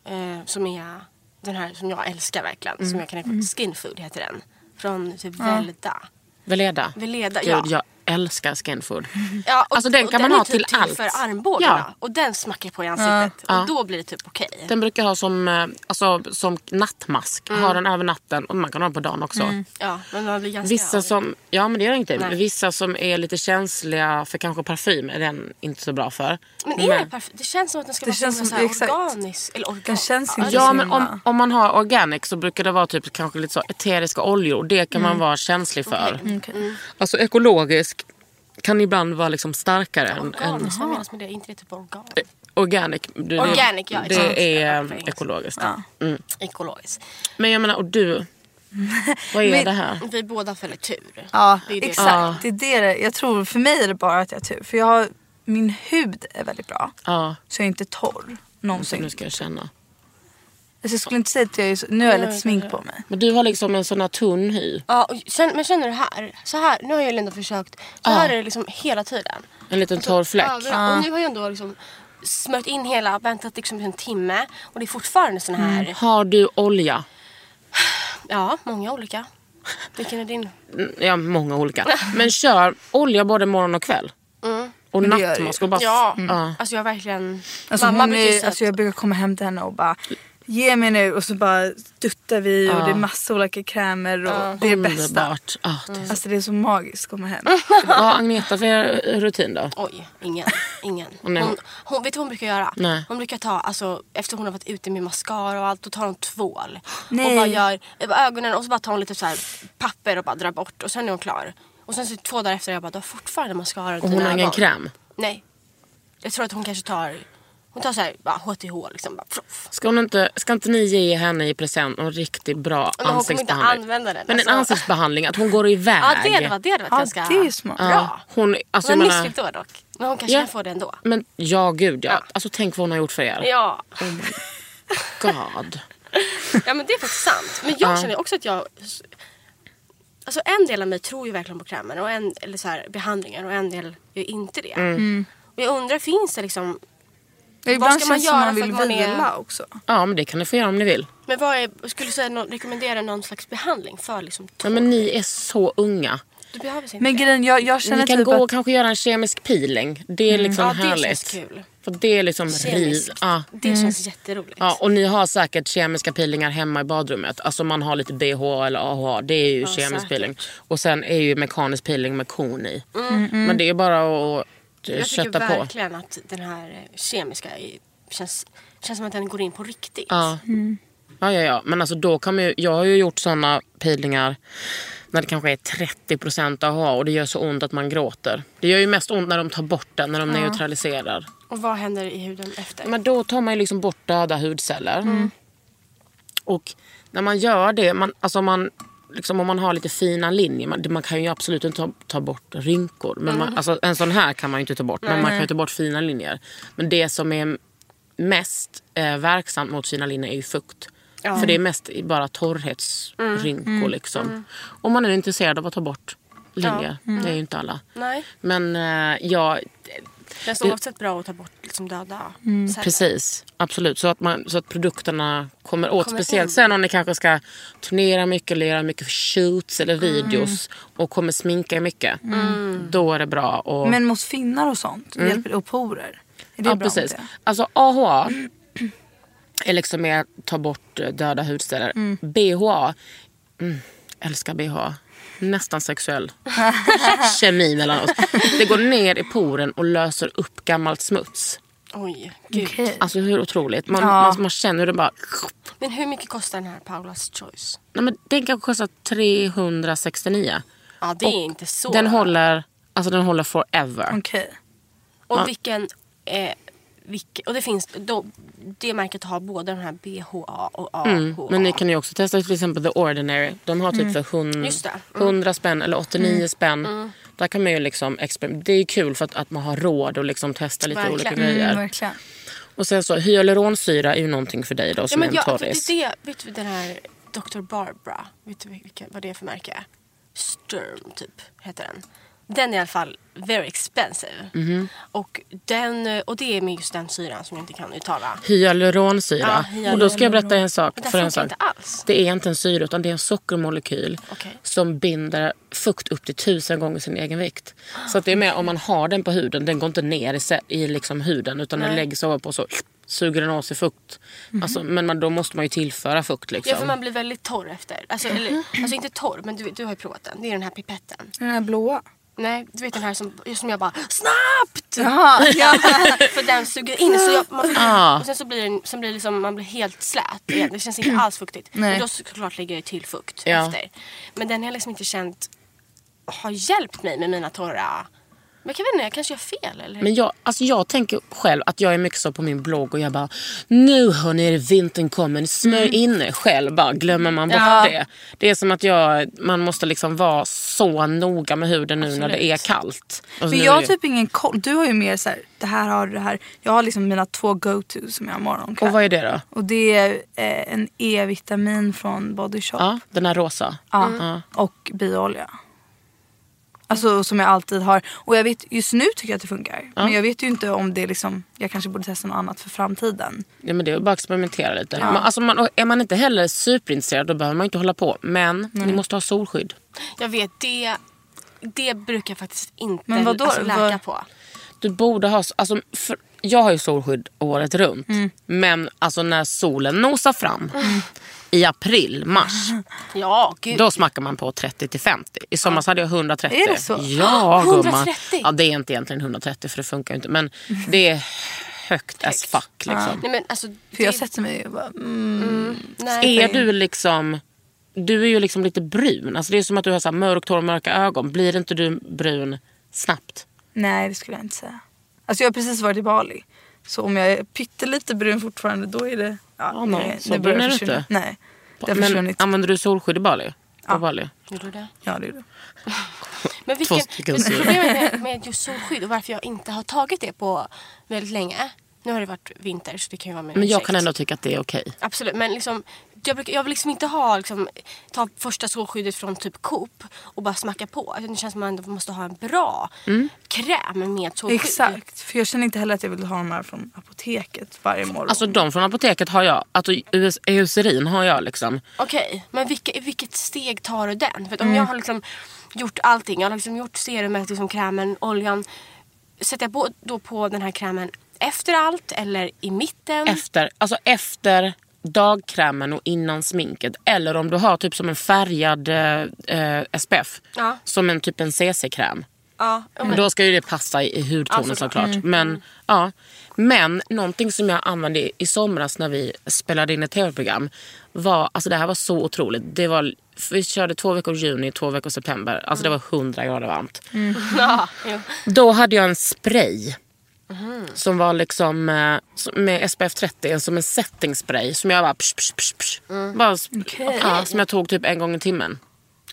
Speaker 3: eh, som är den här som jag älskar verkligen.
Speaker 1: Mm.
Speaker 3: Som jag kan rekommendera. Skinfood heter den. Från typ Velda.
Speaker 1: Veleda?
Speaker 3: Veleda,
Speaker 1: Gud,
Speaker 3: ja.
Speaker 1: jag älskar skinfood.
Speaker 3: Ja, och,
Speaker 1: Alltså, den
Speaker 3: och
Speaker 1: kan man
Speaker 3: är
Speaker 1: ha
Speaker 3: typ
Speaker 1: till allt.
Speaker 3: för armbågarna.
Speaker 1: Ja.
Speaker 3: Och den smackar på i ansiktet.
Speaker 1: Ja.
Speaker 3: Och då blir det typ okej.
Speaker 1: Den brukar jag ha som, eh, alltså, som nattmask.
Speaker 3: Mm.
Speaker 1: Ha den över natten och man kan ha den på dagen också.
Speaker 3: Ja, men man blir ganska...
Speaker 1: Vissa som, ja men det gör ingenting.
Speaker 3: Nej.
Speaker 1: Vissa som är lite känsliga för kanske parfym är den inte så bra för.
Speaker 3: Men är det parfym? Det känns som att den ska
Speaker 5: Det
Speaker 3: vara
Speaker 5: känns
Speaker 3: så, himla så
Speaker 5: som-
Speaker 3: här
Speaker 5: exakt.
Speaker 3: organisk. Eller organ.
Speaker 5: Den känns
Speaker 3: ja,
Speaker 5: inte
Speaker 1: Ja
Speaker 5: så
Speaker 1: men om,
Speaker 5: himla-
Speaker 1: om man har organic så brukar det vara typ kanske lite så eteriska oljor. Det kan
Speaker 3: Mm.
Speaker 1: man vara känslig för.
Speaker 5: Mm.
Speaker 1: Alltså ekologisk kan ibland vara liksom starkare än, än
Speaker 3: Organisk, vad menas med det? Är inte det typ organ?
Speaker 1: Organic, det,
Speaker 3: Organic, ja,
Speaker 1: det
Speaker 3: exakt.
Speaker 1: är
Speaker 3: Ja,
Speaker 1: eh,
Speaker 3: för engelska.
Speaker 1: ekologiskt. Eh.
Speaker 3: Ekologiskt.
Speaker 1: Men jag menar, och du, vad är
Speaker 5: Men-
Speaker 1: det här?
Speaker 3: Vi båda följer tur.
Speaker 5: Ja,
Speaker 3: Det är det.
Speaker 5: exakt.
Speaker 1: Ja.
Speaker 5: Det är det det Jag tror, för mig är det bara att jag har tur. För jag har, min hud är väldigt bra.
Speaker 1: Ja,
Speaker 5: Så jag är inte torr. Någonsin.
Speaker 1: nu
Speaker 5: Alltså,
Speaker 1: ska jag känna.
Speaker 5: jag skulle inte säga att jag är så, nu har jag lite smink på mig.
Speaker 1: Men du har liksom en sån här tunn hy.
Speaker 3: Ja, och känn, men känner du här? Så här, nu har jag ändå försökt. Så här är det liksom hela tiden.
Speaker 1: En liten torr fläck.
Speaker 3: Alltså, Ja, men- Och nu har jag ändå liksom smört in hela, väntat liksom en timme och det är fortfarande såna här.
Speaker 5: Mm.
Speaker 1: Har du olja?
Speaker 3: Ja, många olika. Vilken är din?
Speaker 1: Mm, Ja, många olika. Men kör olja både morgon och kväll.
Speaker 3: Mm.
Speaker 1: Och
Speaker 5: Men det gör
Speaker 1: nattmask. Och bara, Mm.
Speaker 3: Ja,
Speaker 1: ja.
Speaker 3: alltså jag har verkligen...
Speaker 5: Alltså,
Speaker 3: mamma
Speaker 5: hon
Speaker 3: brukar ju
Speaker 5: är,
Speaker 3: säga
Speaker 5: alltså,
Speaker 3: att-
Speaker 5: jag brukar komma hem till henne och bara ge mig nu och så bara duttar vi och det är massa olika krämer och det är det bästa.
Speaker 1: Underbart. Ja, det är så-
Speaker 5: Alltså det är så magiskt att komma hem.
Speaker 1: Vad har Agneta för er rutin då?
Speaker 3: Oj, ingen. ingen.
Speaker 1: Och nej.
Speaker 3: Hon, hon, vet du vad hon brukar göra?
Speaker 1: Nej.
Speaker 3: Hon brukar ta, alltså, efter hon har varit ute med mascara och allt, då tar hon tvål.
Speaker 5: Nej.
Speaker 3: Och bara gör över ögonen och så bara tar hon lite så här papper och bara drar bort och sen är hon klar. Och sen så två dagar efter jag bara, du har fortfarande mascara runt
Speaker 1: Och hon
Speaker 3: dina
Speaker 1: har ingen
Speaker 3: ögon.
Speaker 1: kräm?
Speaker 3: Nej. Jag tror att hon kanske tar, hon tar så här, bara HTH liksom. Bara, pff.
Speaker 1: Ska, hon inte, ska inte ni ge henne i present en riktigt bra
Speaker 3: Men hon kommer inte
Speaker 1: ansiktsbehandling?
Speaker 3: använda den,
Speaker 1: Men en
Speaker 3: alltså.
Speaker 1: ansiktsbehandling, att hon går iväg.
Speaker 3: Ja det hade varit, det hade varit
Speaker 5: Ja,
Speaker 3: ganska
Speaker 5: det är smart.
Speaker 3: bra.
Speaker 1: Ja, hon, alltså,
Speaker 3: hon
Speaker 1: jag
Speaker 3: har
Speaker 1: menar,
Speaker 3: misslyckats då dock. Men hon kanske
Speaker 1: Ja.
Speaker 3: kan få det ändå.
Speaker 1: Men ja, gud ja. Alltså tänk vad hon har gjort för er.
Speaker 3: Ja.
Speaker 1: God.
Speaker 3: Ja men det är faktiskt sant. Men jag känner också att jag... Alltså en del av mig tror ju verkligen på krämer och en, eller så här, behandlingar och en del gör inte det.
Speaker 1: Mm.
Speaker 3: Och jag undrar finns det liksom...
Speaker 5: Ibland
Speaker 3: ska man
Speaker 5: känns det som
Speaker 3: göra
Speaker 5: man
Speaker 3: för
Speaker 5: vill
Speaker 3: att man är-
Speaker 5: vila också.
Speaker 1: Ja, men det kan ni få göra om ni vill.
Speaker 3: Men vad är, skulle du säga, någon, rekommendera någon slags behandling för liksom
Speaker 1: Nej, men ni är så unga.
Speaker 3: Du behöver inte
Speaker 5: Men
Speaker 3: det.
Speaker 5: grejen, jag, jag känner
Speaker 1: Vi kan
Speaker 5: typ
Speaker 1: gå
Speaker 5: att...
Speaker 1: och kanske göra en kemisk peeling. Det är liksom
Speaker 3: Mm. Ja, det
Speaker 1: härligt.
Speaker 3: känns kul.
Speaker 1: För det är liksom riv...
Speaker 3: Kemiskt.
Speaker 1: Ja.
Speaker 3: Det känns jätteroligt.
Speaker 1: Ja, och ni har säkert kemiska peelingar hemma i badrummet. Alltså man har lite BH eller AH. Det är ju kemisk
Speaker 3: säkert. Mm.
Speaker 1: peeling. Och sen är ju mekanisk peeling med kon i. Men det är bara att eh,
Speaker 3: jag tycker
Speaker 1: kötta på.
Speaker 3: verkligen att den här eh, kemiska i- känns, känns som att den går in på riktigt.
Speaker 1: Ja. ja, ja, ja. Men alltså då kan man ju, jag har ju gjort såna peelingar när det kanske är 30% AH och det gör så ont att man gråter. Det gör ju mest ont när de tar bort den, när de neutraliserar.
Speaker 3: Och vad händer i huden efter?
Speaker 1: Men då tar man ju liksom bort döda hudceller. Och när man gör det, man, alltså man, liksom om man har lite fina linjer, man, det- man kan ju absolut inte ta, ta bort rynkor. Men man, alltså, en sån här kan man ju inte ta bort, men man kan ju ta bort fina linjer. Men det som är mest eh, verksamt mot fina linjer är ju fukt. För det är mest i bara torrhetsrynkor. Liksom. Om man är intresserad av att ta bort linjer. Det är ju inte alla.
Speaker 3: Nej.
Speaker 1: Men eh, jag
Speaker 3: Känns oavsett bra att ta bort liksom döda celler.
Speaker 1: Precis, absolut. Så att, man, så att produkterna kommer åt.
Speaker 3: Kommer
Speaker 1: speciellt
Speaker 3: in.
Speaker 1: sen om ni kanske ska turnera mycket eller göra mycket shoots eller videos
Speaker 5: Mm.
Speaker 1: och kommer sminka er mycket. Då är det bra att...
Speaker 5: Men mot finnar och sånt, hjälper det? Och porer? Är
Speaker 1: Mm.
Speaker 5: det
Speaker 1: ja,
Speaker 5: bra
Speaker 1: precis.
Speaker 5: mot det?
Speaker 1: Alltså AHA är liksom mer att ta bort eh, döda hudceller. BHA, mm, älskar BHA. Nästan sexuell kemi mellan oss. Det går ner i poren och löser upp gammalt smuts.
Speaker 3: Oj, gud.
Speaker 1: Alltså hur otroligt. Man,
Speaker 5: Ja.
Speaker 1: man, man känner hur det bara...
Speaker 3: Men hur mycket kostar den här Paulas Choice?
Speaker 1: Nej, men den kanske kostar 369.
Speaker 3: Ja, det är inte så.
Speaker 1: Den håller, alltså den håller forever.
Speaker 3: Mm.
Speaker 5: Okej.
Speaker 3: Och vilken... Eh, vilk, och det finns... Då, det märket har både den här BHA och AHA.
Speaker 1: Men ni kan ju också testa till exempel The Ordinary. De har typ för hun,
Speaker 3: Mm. Just det. Mm.
Speaker 1: 100 spänn eller 89 spänn. Där kan man ju liksom exper- Det är kul för att, att man har råd att liksom testa lite
Speaker 3: Verkligen.
Speaker 1: olika
Speaker 3: Mm,
Speaker 1: grejer.
Speaker 5: Mm, verkligen.
Speaker 1: Och sen så hyaluronsyra är ju någonting för dig då
Speaker 3: Ja,
Speaker 1: som
Speaker 3: men
Speaker 1: är en
Speaker 3: jag, för det,
Speaker 1: torris.
Speaker 3: är det, vet du den här Dr. Barbara? Vet du vilka, vad det är för märke? Sturm, typ, heter den. Den är i alla fall very expensive. Och, den, och det är med just den syran som jag inte kan uttala.
Speaker 1: Hyaluronsyra.
Speaker 3: Ja, hyaluron.
Speaker 1: Och då ska jag berätta en sak.
Speaker 3: Men den
Speaker 1: För en
Speaker 3: funkar
Speaker 1: sak.
Speaker 3: inte alls.
Speaker 1: Det är inte en syra utan det är en sockermolekyl
Speaker 3: Okej.
Speaker 1: som binder fukt upp till tusen gånger sin egen vikt. Så att det är mer om man har den på huden, den går inte ner i, se- i liksom huden utan den läggs ovanpå så suger den åt sig fukt. Alltså, men man, då måste man ju tillföra fukt liksom.
Speaker 3: Mhm. Ja, för man blir väldigt torr efter. Alltså, eller, alltså inte torr, men du, du har ju provat den. Det är den här pipetten.
Speaker 5: Den här blåa.
Speaker 3: Nej, du vet den här som, som jag bara snabbt!
Speaker 5: Jaha,
Speaker 1: Alltså,
Speaker 5: ja.
Speaker 3: för den suger in. Så jag, man,
Speaker 1: Ah.
Speaker 3: Och sen så blir, den, sen blir det liksom, man blir helt slät igen. Det känns inte alls fuktigt.
Speaker 5: Nej.
Speaker 3: Men då såklart lägger jag till fukt
Speaker 1: Ja.
Speaker 3: efter. Men den har jag liksom inte känt har hjälpt mig med mina torra... Men jag kan inte, jag kanske gör fel eller?
Speaker 1: Men jag, alltså jag tänker själv att jag är mycket så på min blogg och jag bara nu hörni är det vintern kommer, smörj
Speaker 3: Mm.
Speaker 1: in er själv. Bara glömmer man bort det. Det är som att jag, man måste liksom vara så noga med huden nu när det är kallt. Alltså,
Speaker 5: Men
Speaker 1: nu
Speaker 5: jag
Speaker 1: är
Speaker 5: har
Speaker 1: det-
Speaker 5: typ ingen koll. Du har ju mer så här, det här har du, det här. Jag har liksom mina två go-to som jag har morgon
Speaker 1: Och vad är det då?
Speaker 5: Och det är eh, en E-vitamin från Body Shop.
Speaker 1: Ja, den här rosa.
Speaker 5: Ja.
Speaker 1: Ja.
Speaker 5: Och biolja. Alltså som jag alltid har. Och jag vet, just nu tycker jag att det funkar. Men jag vet ju inte om det är liksom, jag kanske borde testa något annat för framtiden.
Speaker 1: Ja, men det är bara att experimentera lite. Man, alltså man, och är man inte heller superintresserad då behöver man inte hålla på. Men ni måste ha solskydd.
Speaker 3: Jag vet, det, det brukar jag faktiskt inte
Speaker 5: Men vadå?
Speaker 3: alltså, läka
Speaker 5: Vad-
Speaker 3: på.
Speaker 1: Du borde ha... Alltså, för, jag har ju solskydd året runt.
Speaker 5: Mm.
Speaker 1: Men alltså när solen nosar fram
Speaker 5: Ah.
Speaker 1: i april, mars.
Speaker 3: Ja, gud.
Speaker 1: Då smackar man på 30 till 50. I somras hade jag 130.
Speaker 5: Är det så? Ah,
Speaker 1: Ja, gumman.
Speaker 3: 130?
Speaker 1: Ja, det är inte egentligen 130 för det funkar ju inte. Men det är högt as fuck.
Speaker 5: Ah.
Speaker 1: Liksom.
Speaker 3: Nej, men, alltså,
Speaker 5: För jag
Speaker 3: det-
Speaker 5: sätter mig och bara, mm,
Speaker 3: nej.
Speaker 1: Är du liksom... Du är ju liksom lite brun. Alltså det är som att du har så här mörkt hår och mörka ögon. Blir inte du brun snabbt?
Speaker 5: nej det skulle jag inte säga. Alltså jag har precis varit i Bali. Så om jag är pyttelite brun fortfarande då är det, ja,
Speaker 1: Ja, nej,
Speaker 5: det-
Speaker 1: så
Speaker 5: det börjar
Speaker 1: brun är du
Speaker 5: försvinna.
Speaker 1: inte.
Speaker 5: Nej, det har
Speaker 1: Men
Speaker 5: försvunnit.
Speaker 1: använder du solskydd i Bali? Ja. Bali?
Speaker 3: Gjorde du det?
Speaker 5: Ja, det är det.
Speaker 3: Men
Speaker 1: Två
Speaker 3: vilken,
Speaker 1: stycken
Speaker 3: men
Speaker 1: sidor.
Speaker 3: problemet med, med just solskydd och varför jag inte har tagit det på väldigt länge. Nu har det varit vinter så det kan ju vara min
Speaker 1: Men jag
Speaker 3: ursäkt.
Speaker 1: kan ändå tycka att det är okej.
Speaker 3: Absolut, men liksom, jag, brukar, jag vill liksom inte ha, liksom, ta första solskyddet från typ Coop och bara smacka på. Utan Det känns som att man ändå måste ha en bra
Speaker 1: Mm.
Speaker 3: kräm med solskydd.
Speaker 5: Exakt, för jag känner inte heller att jag vill ha de här från apoteket varje morgon.
Speaker 1: Alltså de från apoteket har jag. Alltså US- Eucerin har jag liksom.
Speaker 3: Okej, men vilka, i vilket steg tar du den? För att om jag har liksom gjort allting. Jag har liksom gjort serumet, liksom krämen, oljan. Sätter jag på, då på den här krämen efter allt eller i mitten?
Speaker 1: Efter, alltså efter dagkrämen och innan sminket. Eller om du har typ som en färgad eh, eh, SPF.
Speaker 3: Ja.
Speaker 1: Som en typ en CC-kräm.
Speaker 3: Ja, ja, men-
Speaker 1: Då ska ju det passa i i hudtonen
Speaker 3: Ja, såklart.
Speaker 1: såklart.
Speaker 3: Mm.
Speaker 1: Men, ja. Men någonting som jag använde i- i somras när vi spelade in ett tv-program var, alltså det här var så otroligt. Det var, vi körde två veckor juni, två veckor september. Alltså
Speaker 3: Mm.
Speaker 1: det var 100 grader varmt.
Speaker 3: Ja, jo.
Speaker 1: Då hade jag en spray.
Speaker 3: Mm-hmm.
Speaker 1: Som var liksom eh, som- med SPF 30, som en setting spray. Som jag bara... Psh, psh, psh, psh. bara sp-
Speaker 3: Mm. Okej.
Speaker 1: ja, som jag tog typ en gång i timmen.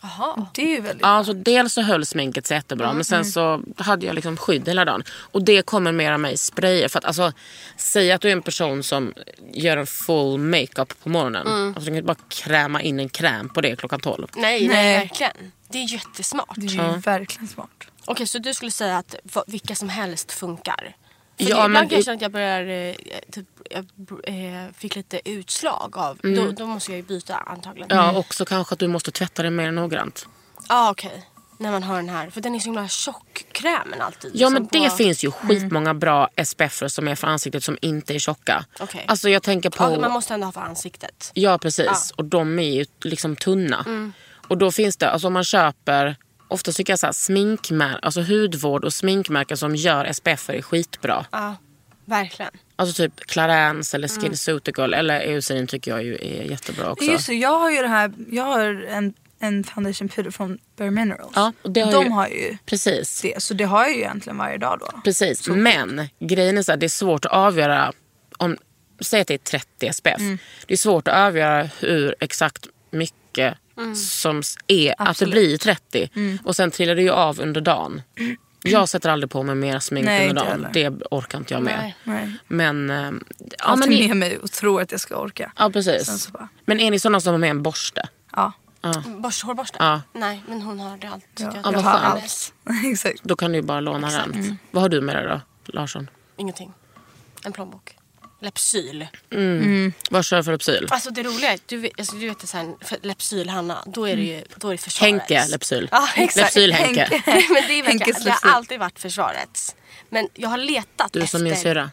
Speaker 3: Jaha.
Speaker 5: Det är ju väldigt...
Speaker 1: Ja, så dels så höll sminket sig jättebra
Speaker 3: Mm,
Speaker 1: men sen så hade jag liksom skydd hela dagen. Och det kommer mer av mig i sprayer. För att alltså, säga att du är en person som gör en full makeup på morgonen.
Speaker 3: Mm.
Speaker 1: Alltså, du kan inte bara kräma in en kräm på det klockan 12.
Speaker 3: Nej, nej,
Speaker 5: Nej.
Speaker 3: verkligen. Det är jättesmart.
Speaker 5: Det är ju verkligen smart.
Speaker 3: Okej, så du skulle säga att va- vilka som helst funkar? För
Speaker 1: Ja,
Speaker 3: det, ibland
Speaker 1: men
Speaker 3: kan jag
Speaker 1: det-
Speaker 3: känna att jag börjar, eh, typ, jag br- eh, fick lite utslag av, då, då måste jag ju byta antagligen.
Speaker 1: Ja, också kanske att du måste tvätta det mer noggrant.
Speaker 3: Ja, okej. När man har den här. För den är så himla tjock, krämen alltid.
Speaker 1: Ja
Speaker 3: som
Speaker 1: men det
Speaker 3: på- Mm.
Speaker 1: finns ju skitmånga bra SPF-er som är för ansiktet som inte är tjocka.
Speaker 3: Okej.
Speaker 1: Alltså jag tänker på...
Speaker 3: Ja, man måste ändå ha för ansiktet.
Speaker 1: Ja precis
Speaker 3: Ja.
Speaker 1: och de är ju liksom tunna. Och då finns det, alltså om man köper, ofta tycker jag så här, sminkmär- alltså hudvård och sminkmärken som gör SPF är skitbra.
Speaker 3: Ja, verkligen.
Speaker 1: Alltså typ Clarins eller Skinsuitical eller Eucerin tycker jag ju är jättebra också.
Speaker 5: Just det, jag har ju det här, jag har en, en foundation puder från Bare Minerals.
Speaker 1: Ja, och det har
Speaker 5: De
Speaker 1: ju-
Speaker 5: har ju
Speaker 1: Precis.
Speaker 5: det, så det har jag ju egentligen varje dag då.
Speaker 1: Precis, men grejen är så här, det är svårt att avgöra om, säg att det är 30 SPF.
Speaker 5: Mm.
Speaker 1: Det är svårt att avgöra hur exakt mycket som s- är, att det
Speaker 5: Mm. Absolut. Mm.
Speaker 1: blir 30. Och sen trillar det ju av under dagen. Jag sätter aldrig på mig mer smink
Speaker 5: Nej,
Speaker 1: under
Speaker 5: inte
Speaker 1: dagen. Det orkar inte jag med.
Speaker 3: Nej.
Speaker 5: Nej.
Speaker 1: Men, ehm, ja,
Speaker 5: Allt
Speaker 1: men,
Speaker 5: är
Speaker 1: ni,
Speaker 5: med mig och tror att jag ska orka.
Speaker 1: ja,
Speaker 5: Sen
Speaker 1: precis.
Speaker 5: så bara,
Speaker 1: men är ni sådana som har med en borste?
Speaker 5: ja.
Speaker 3: Borst, hårborste?
Speaker 1: Ja.
Speaker 3: Nej, men hon har det allt. tycker
Speaker 1: Ja,
Speaker 3: jag.
Speaker 1: vad
Speaker 5: har
Speaker 1: skönt.
Speaker 5: allt. Exakt.
Speaker 1: Då kan du ju bara låna den.
Speaker 5: Mm.
Speaker 1: Vad har du med dig då, Larsson?
Speaker 3: Ingenting. En plånbok. Lepsyl.
Speaker 1: Vad kör du för Lypsyl?
Speaker 3: Alltså det roliga är, du vet, alltså, du vet det så här, för Lepsyl Hanna, då är det ju då är det försvarets.
Speaker 1: Mm. Henke Lypsyl.
Speaker 3: Ja, exakt.
Speaker 1: Lypsyl-Henke.
Speaker 3: Nej, men det, är verkligen,
Speaker 5: Henkes
Speaker 3: det har
Speaker 5: Lepsyl.
Speaker 3: alltid varit försvarets. Men jag har letat
Speaker 1: Du är
Speaker 3: efter...
Speaker 1: som min syrra.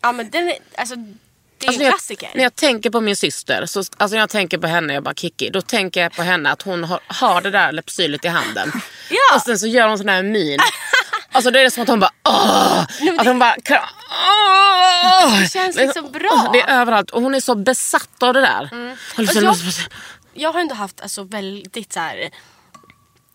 Speaker 3: Ja men den är, alltså, det är
Speaker 1: Alltså
Speaker 3: ju
Speaker 1: när
Speaker 3: en
Speaker 1: jag,
Speaker 3: klassiker.
Speaker 1: när jag tänker på min syster, så, alltså när jag tänker på henne, jag bara Kiki, då tänker jag på henne att hon har, har det där Lypsylet i handen.
Speaker 3: Ja.
Speaker 1: Och sen så gör hon sån här min. Alltså då är det som att hon bara åh! Att hon bara "Kra- åh!"
Speaker 3: Det känns
Speaker 1: Men-
Speaker 3: liksom bra.
Speaker 1: åh, Det är överallt och hon är så besatt av det där. Och liksom-
Speaker 3: Och Jag har ändå haft alltså, väldigt så här,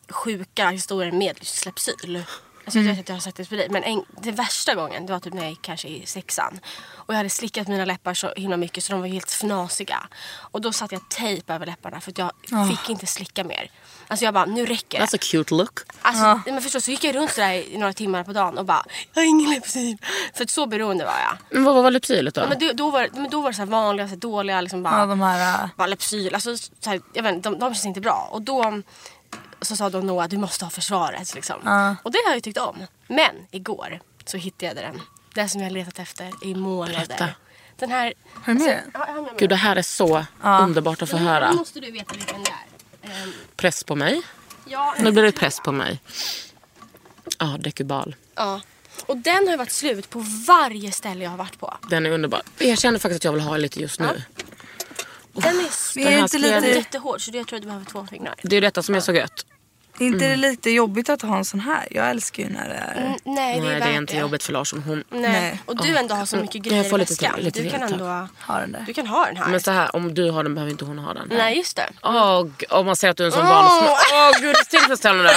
Speaker 3: sjuka historier med just Lepsyl. Alltså,
Speaker 5: Mm.
Speaker 3: Jag vet att jag har sagt det till dig men en, det värsta gången det var typ när jag gick kanske i sexan. Och jag hade slickat mina läppar så himla mycket så de var helt fnasiga. Och då satte jag tejp över läpparna för att jag
Speaker 5: Ah.
Speaker 3: fick inte slicka mer. Alltså jag bara, nu räcker det.
Speaker 1: That's a cute look.
Speaker 3: Alltså,
Speaker 5: ah.
Speaker 3: nej, men förstås, så gick jag runt sådär i några timmar på dagen och bara, jag har ingen Lepsyl. För att så beroende var jag.
Speaker 1: Men vad vad var Lypsylet då?
Speaker 3: Ja, men, då, då var, men då var det så här vanliga, så här dåliga liksom bara
Speaker 5: Ja, de här... äh,
Speaker 3: bara Lypsyl, alltså, så här, jag vet, inte, de, de känns inte bra. Och då så sa då Noah, du måste ha försvaret. Liksom.
Speaker 5: Ja.
Speaker 3: Och det har jag ju tyckt om. Men igår så hittade jag den. Den som jag har letat efter i månader.
Speaker 1: Berätta.
Speaker 3: Den här... Alltså,
Speaker 5: Har du med den?
Speaker 3: Ja, jag har med mig
Speaker 1: Gud det
Speaker 3: den.
Speaker 1: här är så underbart att få
Speaker 3: Den här
Speaker 1: höra.
Speaker 3: måste du veta vilken det är. Ehm,
Speaker 1: Press på mig.
Speaker 3: ja,
Speaker 1: Nu blir det press på mig. Ja, dekubal.
Speaker 3: Ja. Och den har ju varit slut på varje ställe jag har varit på.
Speaker 1: Den är underbar. Jag känner faktiskt att jag vill ha lite just nu.
Speaker 3: Den är, s-
Speaker 5: Men
Speaker 1: Den
Speaker 5: är
Speaker 1: här
Speaker 5: inte
Speaker 1: ska jag-
Speaker 3: den är
Speaker 5: lite,
Speaker 3: jättehård så jag tror att du behöver två fingrar.
Speaker 1: Det är detta som är så gött.
Speaker 5: inte
Speaker 1: Mm.
Speaker 5: det lite jobbigt att ha en sån här? Jag älskar ju när det är...
Speaker 3: Mm, nej,
Speaker 1: Nej,
Speaker 3: det
Speaker 1: det
Speaker 3: är,
Speaker 1: är,
Speaker 3: värt
Speaker 1: inte
Speaker 3: det.
Speaker 1: jobbigt för Larsson. Hon...
Speaker 3: Nej.
Speaker 5: Nej.
Speaker 3: Och du ändå har så mycket
Speaker 1: Kan jag
Speaker 3: grejer
Speaker 1: få
Speaker 3: i
Speaker 1: lite-
Speaker 3: väskan.
Speaker 1: lite
Speaker 3: Du kan
Speaker 1: veta?
Speaker 3: ändå...
Speaker 5: Ha den där.
Speaker 3: Du kan ha den här.
Speaker 1: Men så här, om du har den behöver inte hon ha den.
Speaker 3: Nej, just det.
Speaker 1: Åh, g- om man säger att du är en sån barn. Åh gud, det är så tillfredsställande.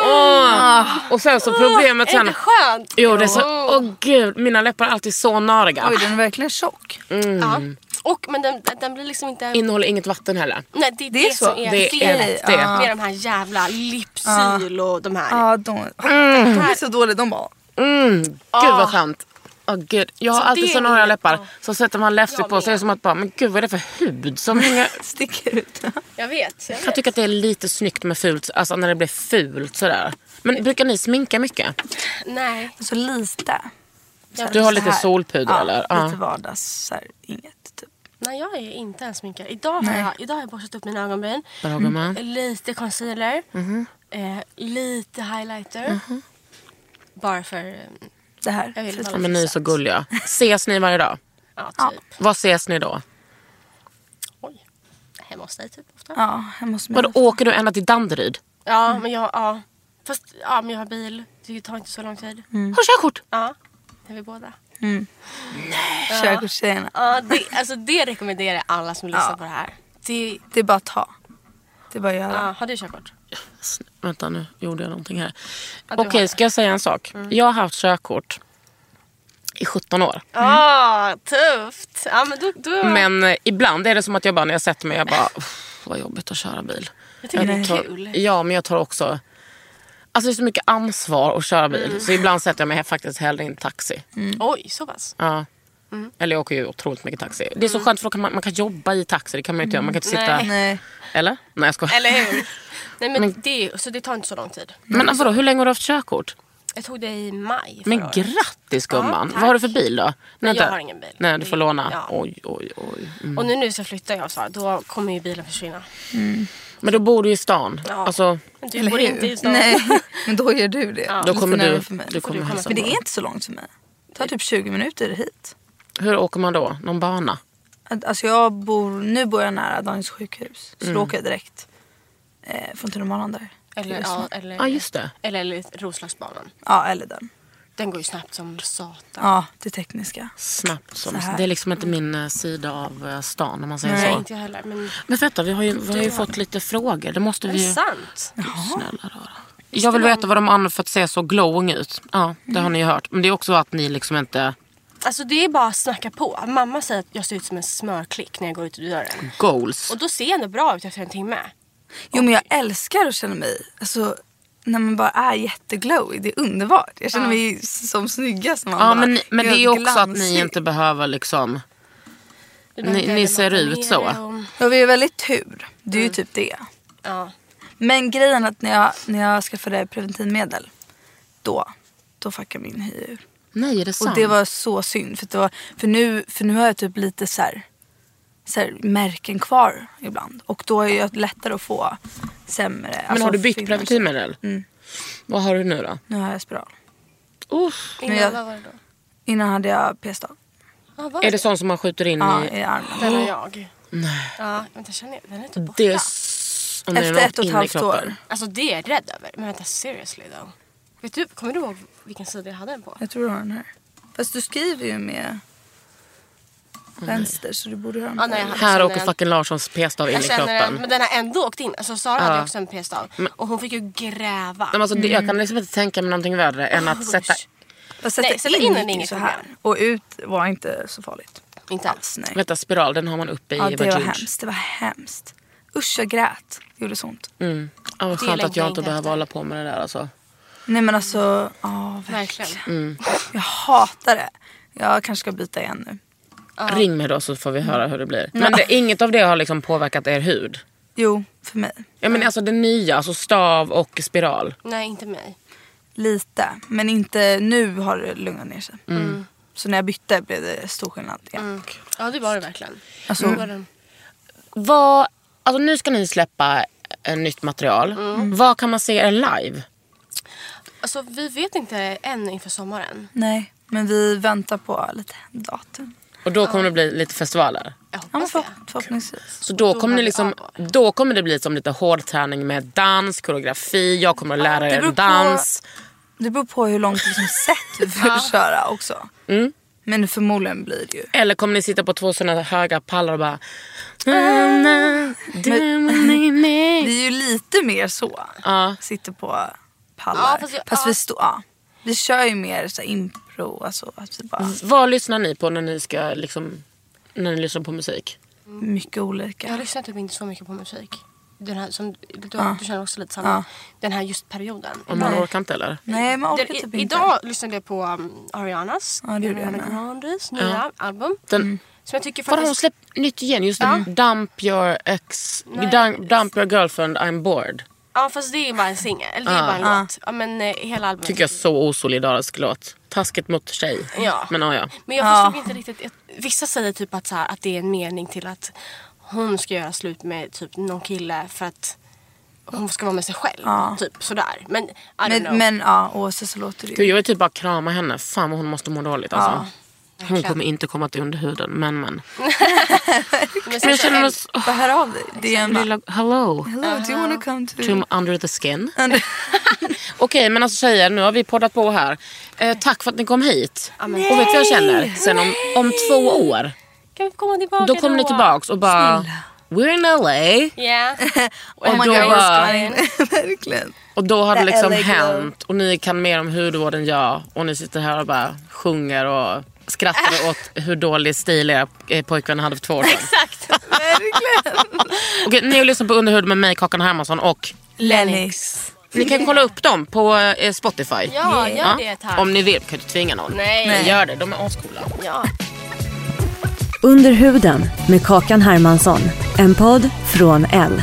Speaker 1: Åh. Och sen så problemet
Speaker 3: Är det
Speaker 1: sen.
Speaker 3: inte skönt?
Speaker 1: Jo, det är så... Åh gud, mina läppar är alltid så nariga.
Speaker 5: Oj, den är verkligen tjock.
Speaker 1: Mm.
Speaker 3: Ja. Och, men den, den blir liksom inte...
Speaker 1: Innehåller inget vatten heller.
Speaker 3: Nej, det är det,
Speaker 5: är så.
Speaker 3: som är
Speaker 1: Det är
Speaker 3: felet
Speaker 1: det.
Speaker 3: med de här jävla Lypsyl och de här.
Speaker 5: Ja, de, de är så dåliga. De bara...
Speaker 1: Mm, gud vad skönt. Åh gud. Jag har
Speaker 3: Så
Speaker 1: alltid
Speaker 3: det
Speaker 1: så
Speaker 3: är
Speaker 1: norra
Speaker 3: inget-
Speaker 1: läppar. Så sätter man läppstift
Speaker 3: Jag
Speaker 1: på sig är
Speaker 3: med.
Speaker 1: det som att bara, men gud vad är det för hud som hänger?
Speaker 5: sticker ut.
Speaker 3: Jag vet. Jag vet.
Speaker 1: Jag tycker att det är lite snyggt med fult, alltså när det blir fult sådär. Men brukar ni sminka mycket?
Speaker 3: Nej.
Speaker 5: Så lite. Så här,
Speaker 1: Du har
Speaker 5: så
Speaker 1: lite
Speaker 5: här.
Speaker 1: solpuder,
Speaker 5: ja,
Speaker 1: eller? Ja.
Speaker 5: Ja, lite vardags. Så här, inget. Typ.
Speaker 3: Nej, jag är inte ens sminkad. Idag har
Speaker 5: Nej.
Speaker 1: Mm.
Speaker 3: jag, idag har jag borstat upp mina ögonbryn.
Speaker 1: Där har man. Mm-hmm.
Speaker 3: Lite concealer. eh, lite highlighter. Bara för... eh,
Speaker 5: Det här.
Speaker 3: Jag vill att
Speaker 1: Ja,
Speaker 3: alla
Speaker 1: men ni är
Speaker 3: fixar.
Speaker 1: så gulliga. Ses ni varje dag?
Speaker 3: Ja, typ.
Speaker 1: Var ses ni då?
Speaker 3: Oj. Hemma hos dig typ ofta. Ja,
Speaker 5: Ja, hemma hos mig.
Speaker 1: Vadå, åker du ända till Danderyd? Mm.
Speaker 3: men jag... Ja. Fast ja, men jag har bil. Det tar inte så lång tid.
Speaker 1: Har du körkort?
Speaker 3: Ja, det är vi båda.
Speaker 5: Körkortstjejerna.
Speaker 3: Ja, det, alltså det rekommenderar jag alla som lyssnar
Speaker 5: Ja.
Speaker 3: på det här. Det,
Speaker 5: Det är bara att ta. Det är bara att göra.
Speaker 3: ja, har du körkort?
Speaker 1: Sn- Vänta nu, gjorde jag någonting här?
Speaker 3: Ja, du
Speaker 1: Okej,
Speaker 3: har det. Mm.
Speaker 1: ska jag säga en sak? Jag har haft körkort i 17 år.
Speaker 3: Ja, tufft. Ja, men då, då,
Speaker 1: Men eh, ibland är det som att jag bara när jag sätter mig, jag bara, "Uff, vad jobbigt att köra bil.
Speaker 3: jag tycker det är
Speaker 1: tar,
Speaker 3: kul.
Speaker 1: Ja, men jag tar också... Alltså det är så mycket ansvar att köra
Speaker 3: Mm.
Speaker 1: bil. Så ibland sätter jag mig faktiskt hellre i en taxi.
Speaker 3: Oj, så pass.
Speaker 1: Ja.
Speaker 3: Mm.
Speaker 1: Eller jag åker ju otroligt mycket taxi. Det är så skönt för då kan man, man kan jobba i taxi. Det kan man ju inte göra. Man kan inte sitta...
Speaker 3: Nej.
Speaker 5: Nej.
Speaker 1: Eller? Nej jag skojar.
Speaker 3: Eller hur? Nej, men, Det, så det tar inte så lång tid.
Speaker 1: Men alltså, vadå, hur länge har du haft körkort?
Speaker 3: Jag tog det i maj förra
Speaker 1: Men
Speaker 3: året.
Speaker 1: grattis gumman.
Speaker 3: Ja, tack.
Speaker 1: Vad har du för bil då? Nej, vänta.
Speaker 3: har ingen bil.
Speaker 1: Nej du får låna.
Speaker 3: Ja.
Speaker 1: Oj oj oj. Mm.
Speaker 3: Och nu, nu så flyttar jag så då kommer ju bilen försvinna.
Speaker 1: Men då bor du ju i stan.
Speaker 3: Ja.
Speaker 1: Alltså,
Speaker 3: Men Du bor inte i stan.
Speaker 5: Nej, men då gör du det.
Speaker 1: då kommer
Speaker 5: Lite nära
Speaker 1: du,
Speaker 5: För mig.
Speaker 1: du kommer
Speaker 3: komma
Speaker 1: hälsa
Speaker 5: Men det
Speaker 1: på.
Speaker 5: är inte så långt för mig. Det tar typ 20 minuter hit.
Speaker 1: Hur åker man då? Någon bana?
Speaker 5: Att- Alltså jag bor, nu bor jag nära Daniels sjukhus. Så
Speaker 1: Mm.
Speaker 5: då åker jag direkt eh, från Tunnelbanan där.
Speaker 3: Eller,
Speaker 5: Till
Speaker 3: ja,
Speaker 5: Östermalm.
Speaker 3: eller,
Speaker 1: Ja just det.
Speaker 3: eller, eller Roslagsbanan.
Speaker 5: ja, eller den.
Speaker 3: Den går ju snabbt som satan.
Speaker 5: Ja, det tekniska.
Speaker 1: Snabbt som.
Speaker 5: Så här.
Speaker 1: Det är liksom inte min eh, sida av eh, stan om man säger
Speaker 3: Nej,
Speaker 1: så.
Speaker 3: inte jag heller. Men
Speaker 1: Men vänta, vi har ju, vi har ju fått lite frågor. Det måste
Speaker 3: är
Speaker 1: vi
Speaker 3: det
Speaker 1: ju...
Speaker 3: sant?
Speaker 1: Snälla rara. Jag vill veta vad de använder för att se så glowing ut. Ja, det har ni ju hört. Men det är också att ni liksom inte...
Speaker 3: Alltså det är bara att snacka på. Mamma säger att jag ser ut som en smörklick när jag går ut ur dörren.
Speaker 1: Goals.
Speaker 3: Och då ser jag ändå bra ut efter en timme.
Speaker 5: Jo men jag älskar att känna mig, alltså när man bara är jätteglowy. Det är underbart. Jag känner mig s- som snyggast när man
Speaker 1: Ja,
Speaker 5: bara
Speaker 1: men, ni- men det är ju
Speaker 5: helt
Speaker 1: också att ni
Speaker 5: glansig.
Speaker 1: inte behöver liksom... Ni-
Speaker 3: Du behöver
Speaker 1: ni
Speaker 3: inte
Speaker 1: ser
Speaker 3: lampa
Speaker 1: ut
Speaker 3: ner
Speaker 1: så.
Speaker 3: det och-
Speaker 5: Ja, vi har väldigt tur. Det är
Speaker 1: Mm.
Speaker 5: ju typ det.
Speaker 3: Ja.
Speaker 5: Men grejen är att när jag, när jag skaffade preventivmedel, då, då fuckade min hy ur.
Speaker 1: Nej, är det sant?
Speaker 5: Och det var så synd. För, att det var, för, nu, för nu har jag typ lite så här, så här märken kvar ibland. Och då är jag lättare att få sämre.
Speaker 1: Men
Speaker 5: alltså
Speaker 1: har du bytt
Speaker 5: fyllnads-
Speaker 1: preventivmedel?
Speaker 5: Mm.
Speaker 1: Vad har du nu då?
Speaker 5: Nu har jag spiral.
Speaker 1: Uff.
Speaker 3: Innan,
Speaker 5: jag-
Speaker 3: vad var det då?
Speaker 5: Innan hade jag p-stav.
Speaker 3: Ja, vad var
Speaker 1: Är det sån som man skjuter in
Speaker 5: Ja,
Speaker 1: i...
Speaker 5: i armen.
Speaker 3: Den har jag. Nej. Ja, vänta, känner jag, den är typ borta.
Speaker 1: Det är... s- om det är
Speaker 5: Efter
Speaker 1: något
Speaker 5: ett och ett
Speaker 1: inne i
Speaker 5: halvt
Speaker 1: kroppen.
Speaker 5: år.
Speaker 3: Alltså det är jag rädd över. Men vänta, seriously though. Vet du, kommer du ihåg vilken sida jag hade den på?
Speaker 5: Jag tror du har den här. Fast du skriver ju med
Speaker 1: Mm.
Speaker 5: vänster så du borde ha den.
Speaker 3: Ja,
Speaker 5: på
Speaker 3: nej, jag
Speaker 5: dig.
Speaker 3: hade-
Speaker 1: Här
Speaker 3: känner
Speaker 1: åker
Speaker 3: den.
Speaker 1: fucking Larssons p-stav in i
Speaker 3: Jag känner den,
Speaker 1: kroppen.
Speaker 3: men den har ändå åkt in. Alltså Sara hade
Speaker 1: Ja.
Speaker 3: ju också en p-stav. Och hon fick ju gräva.
Speaker 1: Nej, men alltså, det, jag
Speaker 5: Mm.
Speaker 1: kan liksom inte tänka mig någonting värre än att
Speaker 3: Usch.
Speaker 1: sätta...
Speaker 5: Fast sätta
Speaker 3: nej, sätta in
Speaker 5: in,
Speaker 3: den
Speaker 5: gick
Speaker 3: är
Speaker 5: ju
Speaker 3: inget
Speaker 5: så här.
Speaker 3: problem.
Speaker 5: Och ut var inte så farligt.
Speaker 3: Inte alls.
Speaker 5: Nej.
Speaker 1: Vänta, spiral, den har man uppe i
Speaker 5: Ja, det var
Speaker 1: vaginj.
Speaker 5: hemskt. Det var hemskt. Usch, jag grät. Det gjorde så ont.
Speaker 1: Mm. Ja, vad
Speaker 3: Det
Speaker 1: skönt att
Speaker 3: längtar
Speaker 1: jag inte
Speaker 3: jag inte
Speaker 1: behöver
Speaker 3: efter.
Speaker 1: hålla på med det där alltså.
Speaker 5: Nej, men alltså... Ja, verkligen.
Speaker 3: Verkligen.
Speaker 1: Mm.
Speaker 5: Jag hatar det. Jag kanske ska byta igen nu.
Speaker 1: Ring mig då så får vi höra hur det blir. Men det, inget av det har liksom påverkat er hud?
Speaker 5: Jo, för mig.
Speaker 1: Ja, men alltså det nya, alltså stav och spiral.
Speaker 3: Nej, inte mig.
Speaker 5: Lite. Men inte... Nu har det lugnat ner sig. Mm. Så när jag bytte blev det stor skillnad igen.
Speaker 3: Ja, det var det verkligen. Mm.
Speaker 5: Alltså,
Speaker 3: Det var den.
Speaker 1: Vad, alltså nu ska ni släppa eh, nytt material. Vad kan man se er live?
Speaker 3: Alltså vi vet inte än inför sommaren.
Speaker 5: Nej, men vi väntar på lite datum.
Speaker 1: Och då kommer det bli lite festivaler.
Speaker 3: Jag
Speaker 5: Ja, men
Speaker 3: hoppas det.
Speaker 5: förhopp- förhoppningsvis.
Speaker 1: Så då,
Speaker 3: Då
Speaker 1: kommer ni
Speaker 3: har vi
Speaker 1: liksom,
Speaker 3: över.
Speaker 1: då kommer det bli som lite hård träning med dans, koreografi, jag kommer att lära
Speaker 5: det
Speaker 1: er
Speaker 5: beror på-
Speaker 1: dans.
Speaker 5: Det beror på hur långt liksom, set vi får köra också. Men förmodligen blir det ju.
Speaker 1: Eller kommer ni sitta på två sådana höga pallar och bara... Na, na, du, ni,
Speaker 5: Det
Speaker 1: ni.
Speaker 5: är ju lite mer så.
Speaker 1: Ja.
Speaker 5: Sitter på pallar.
Speaker 3: Ja,
Speaker 5: fast
Speaker 3: fast jag-
Speaker 5: vi,
Speaker 3: ja.
Speaker 5: står, ja. vi kör ju mer så här, impro. Alltså, att vi bara,
Speaker 1: Vad lyssnar ni på när ni, ska, liksom, när ni lyssnar på musik?
Speaker 5: Mycket olika.
Speaker 3: Jag lyssnar typ inte så mycket på musik. Den här, som, du,
Speaker 5: Ja.
Speaker 3: du känner också lite samma.
Speaker 5: Ja.
Speaker 3: Den här just perioden.
Speaker 1: Om man orkar inte eller?
Speaker 5: Nej, man orkar
Speaker 3: Den- i-
Speaker 5: typ inte.
Speaker 3: idag lyssnade jag på um, Arianas,
Speaker 5: Ja, det gjorde jag
Speaker 3: Ariana
Speaker 5: med.
Speaker 3: Grandes nya album.
Speaker 1: Den,
Speaker 3: Som jag tycker
Speaker 1: Vad har hon
Speaker 3: faktiskt...
Speaker 1: släppt nytt igen? Just det. Dump your ex... Dump, dump your girlfriend, I'm bored.
Speaker 3: Ja fast det är bara en singel, eller det är bara en låt. Ja, men eh, hela albumet.
Speaker 1: Tycker jag så osolidarisk låt. Taskigt mot tjej.
Speaker 3: Ja.
Speaker 1: Men ah, ja, ja.
Speaker 3: Men jag
Speaker 5: Ja.
Speaker 3: förstod inte riktigt. jag- Vissa säger typ att, så här, att det är en mening till att hon ska göra slut med typ någon kille för att hon ska vara med sig själv.
Speaker 5: Ja.
Speaker 3: Typ sådär. Men I don't know.
Speaker 5: Men, men ja, oavsett så låter det
Speaker 1: Gud,
Speaker 5: ju.
Speaker 1: jag vill typ bara krama henne. Fan vad hon måste må dåligt alltså. Hon
Speaker 3: verkligen.
Speaker 1: kommer inte komma till underhuden, men men.
Speaker 3: Men
Speaker 1: Men jag
Speaker 3: sen-
Speaker 1: känner oss...
Speaker 5: Bara hör av dig. DM bara,
Speaker 1: Lilla, hello,
Speaker 5: Hello, do you wanna come to...
Speaker 1: to under the skin. Okej, men alltså tjejer, nu har vi poddat på här. Eh, tack för att ni kom hit. Och vet du vad jag känner? Sen om, om två år,
Speaker 3: Kan vi komma tillbaka
Speaker 1: då kommer ni tillbaks och bara... We're in LA.
Speaker 3: Yeah.
Speaker 5: Oh
Speaker 1: Och då,
Speaker 3: Oh God, jag
Speaker 1: bara,
Speaker 3: älskar det.
Speaker 5: Verkligen.
Speaker 1: och då har
Speaker 5: The
Speaker 1: det liksom
Speaker 5: LA glow.
Speaker 1: hänt och ni kan mer om hudvård än jag och ni sitter här och bara sjunger och skrattar åt hur dålig stil era eh, pojkvän hade för två år sedan.
Speaker 3: Äh. Exakt.
Speaker 1: Okej, ni har lyssnat på Underhud med mig, Kakan Hermansson och
Speaker 5: Lennox.
Speaker 1: ni kan kolla upp dem på eh, Spotify.
Speaker 3: Ja, gör det, tack.
Speaker 1: Om ni vill, kan jag inte tvinga någon.
Speaker 3: Nej.
Speaker 1: Men gör det, de är ascoola.
Speaker 3: Ja.
Speaker 2: Under huden med Kakan Hermansson. En podd från L.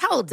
Speaker 7: Hold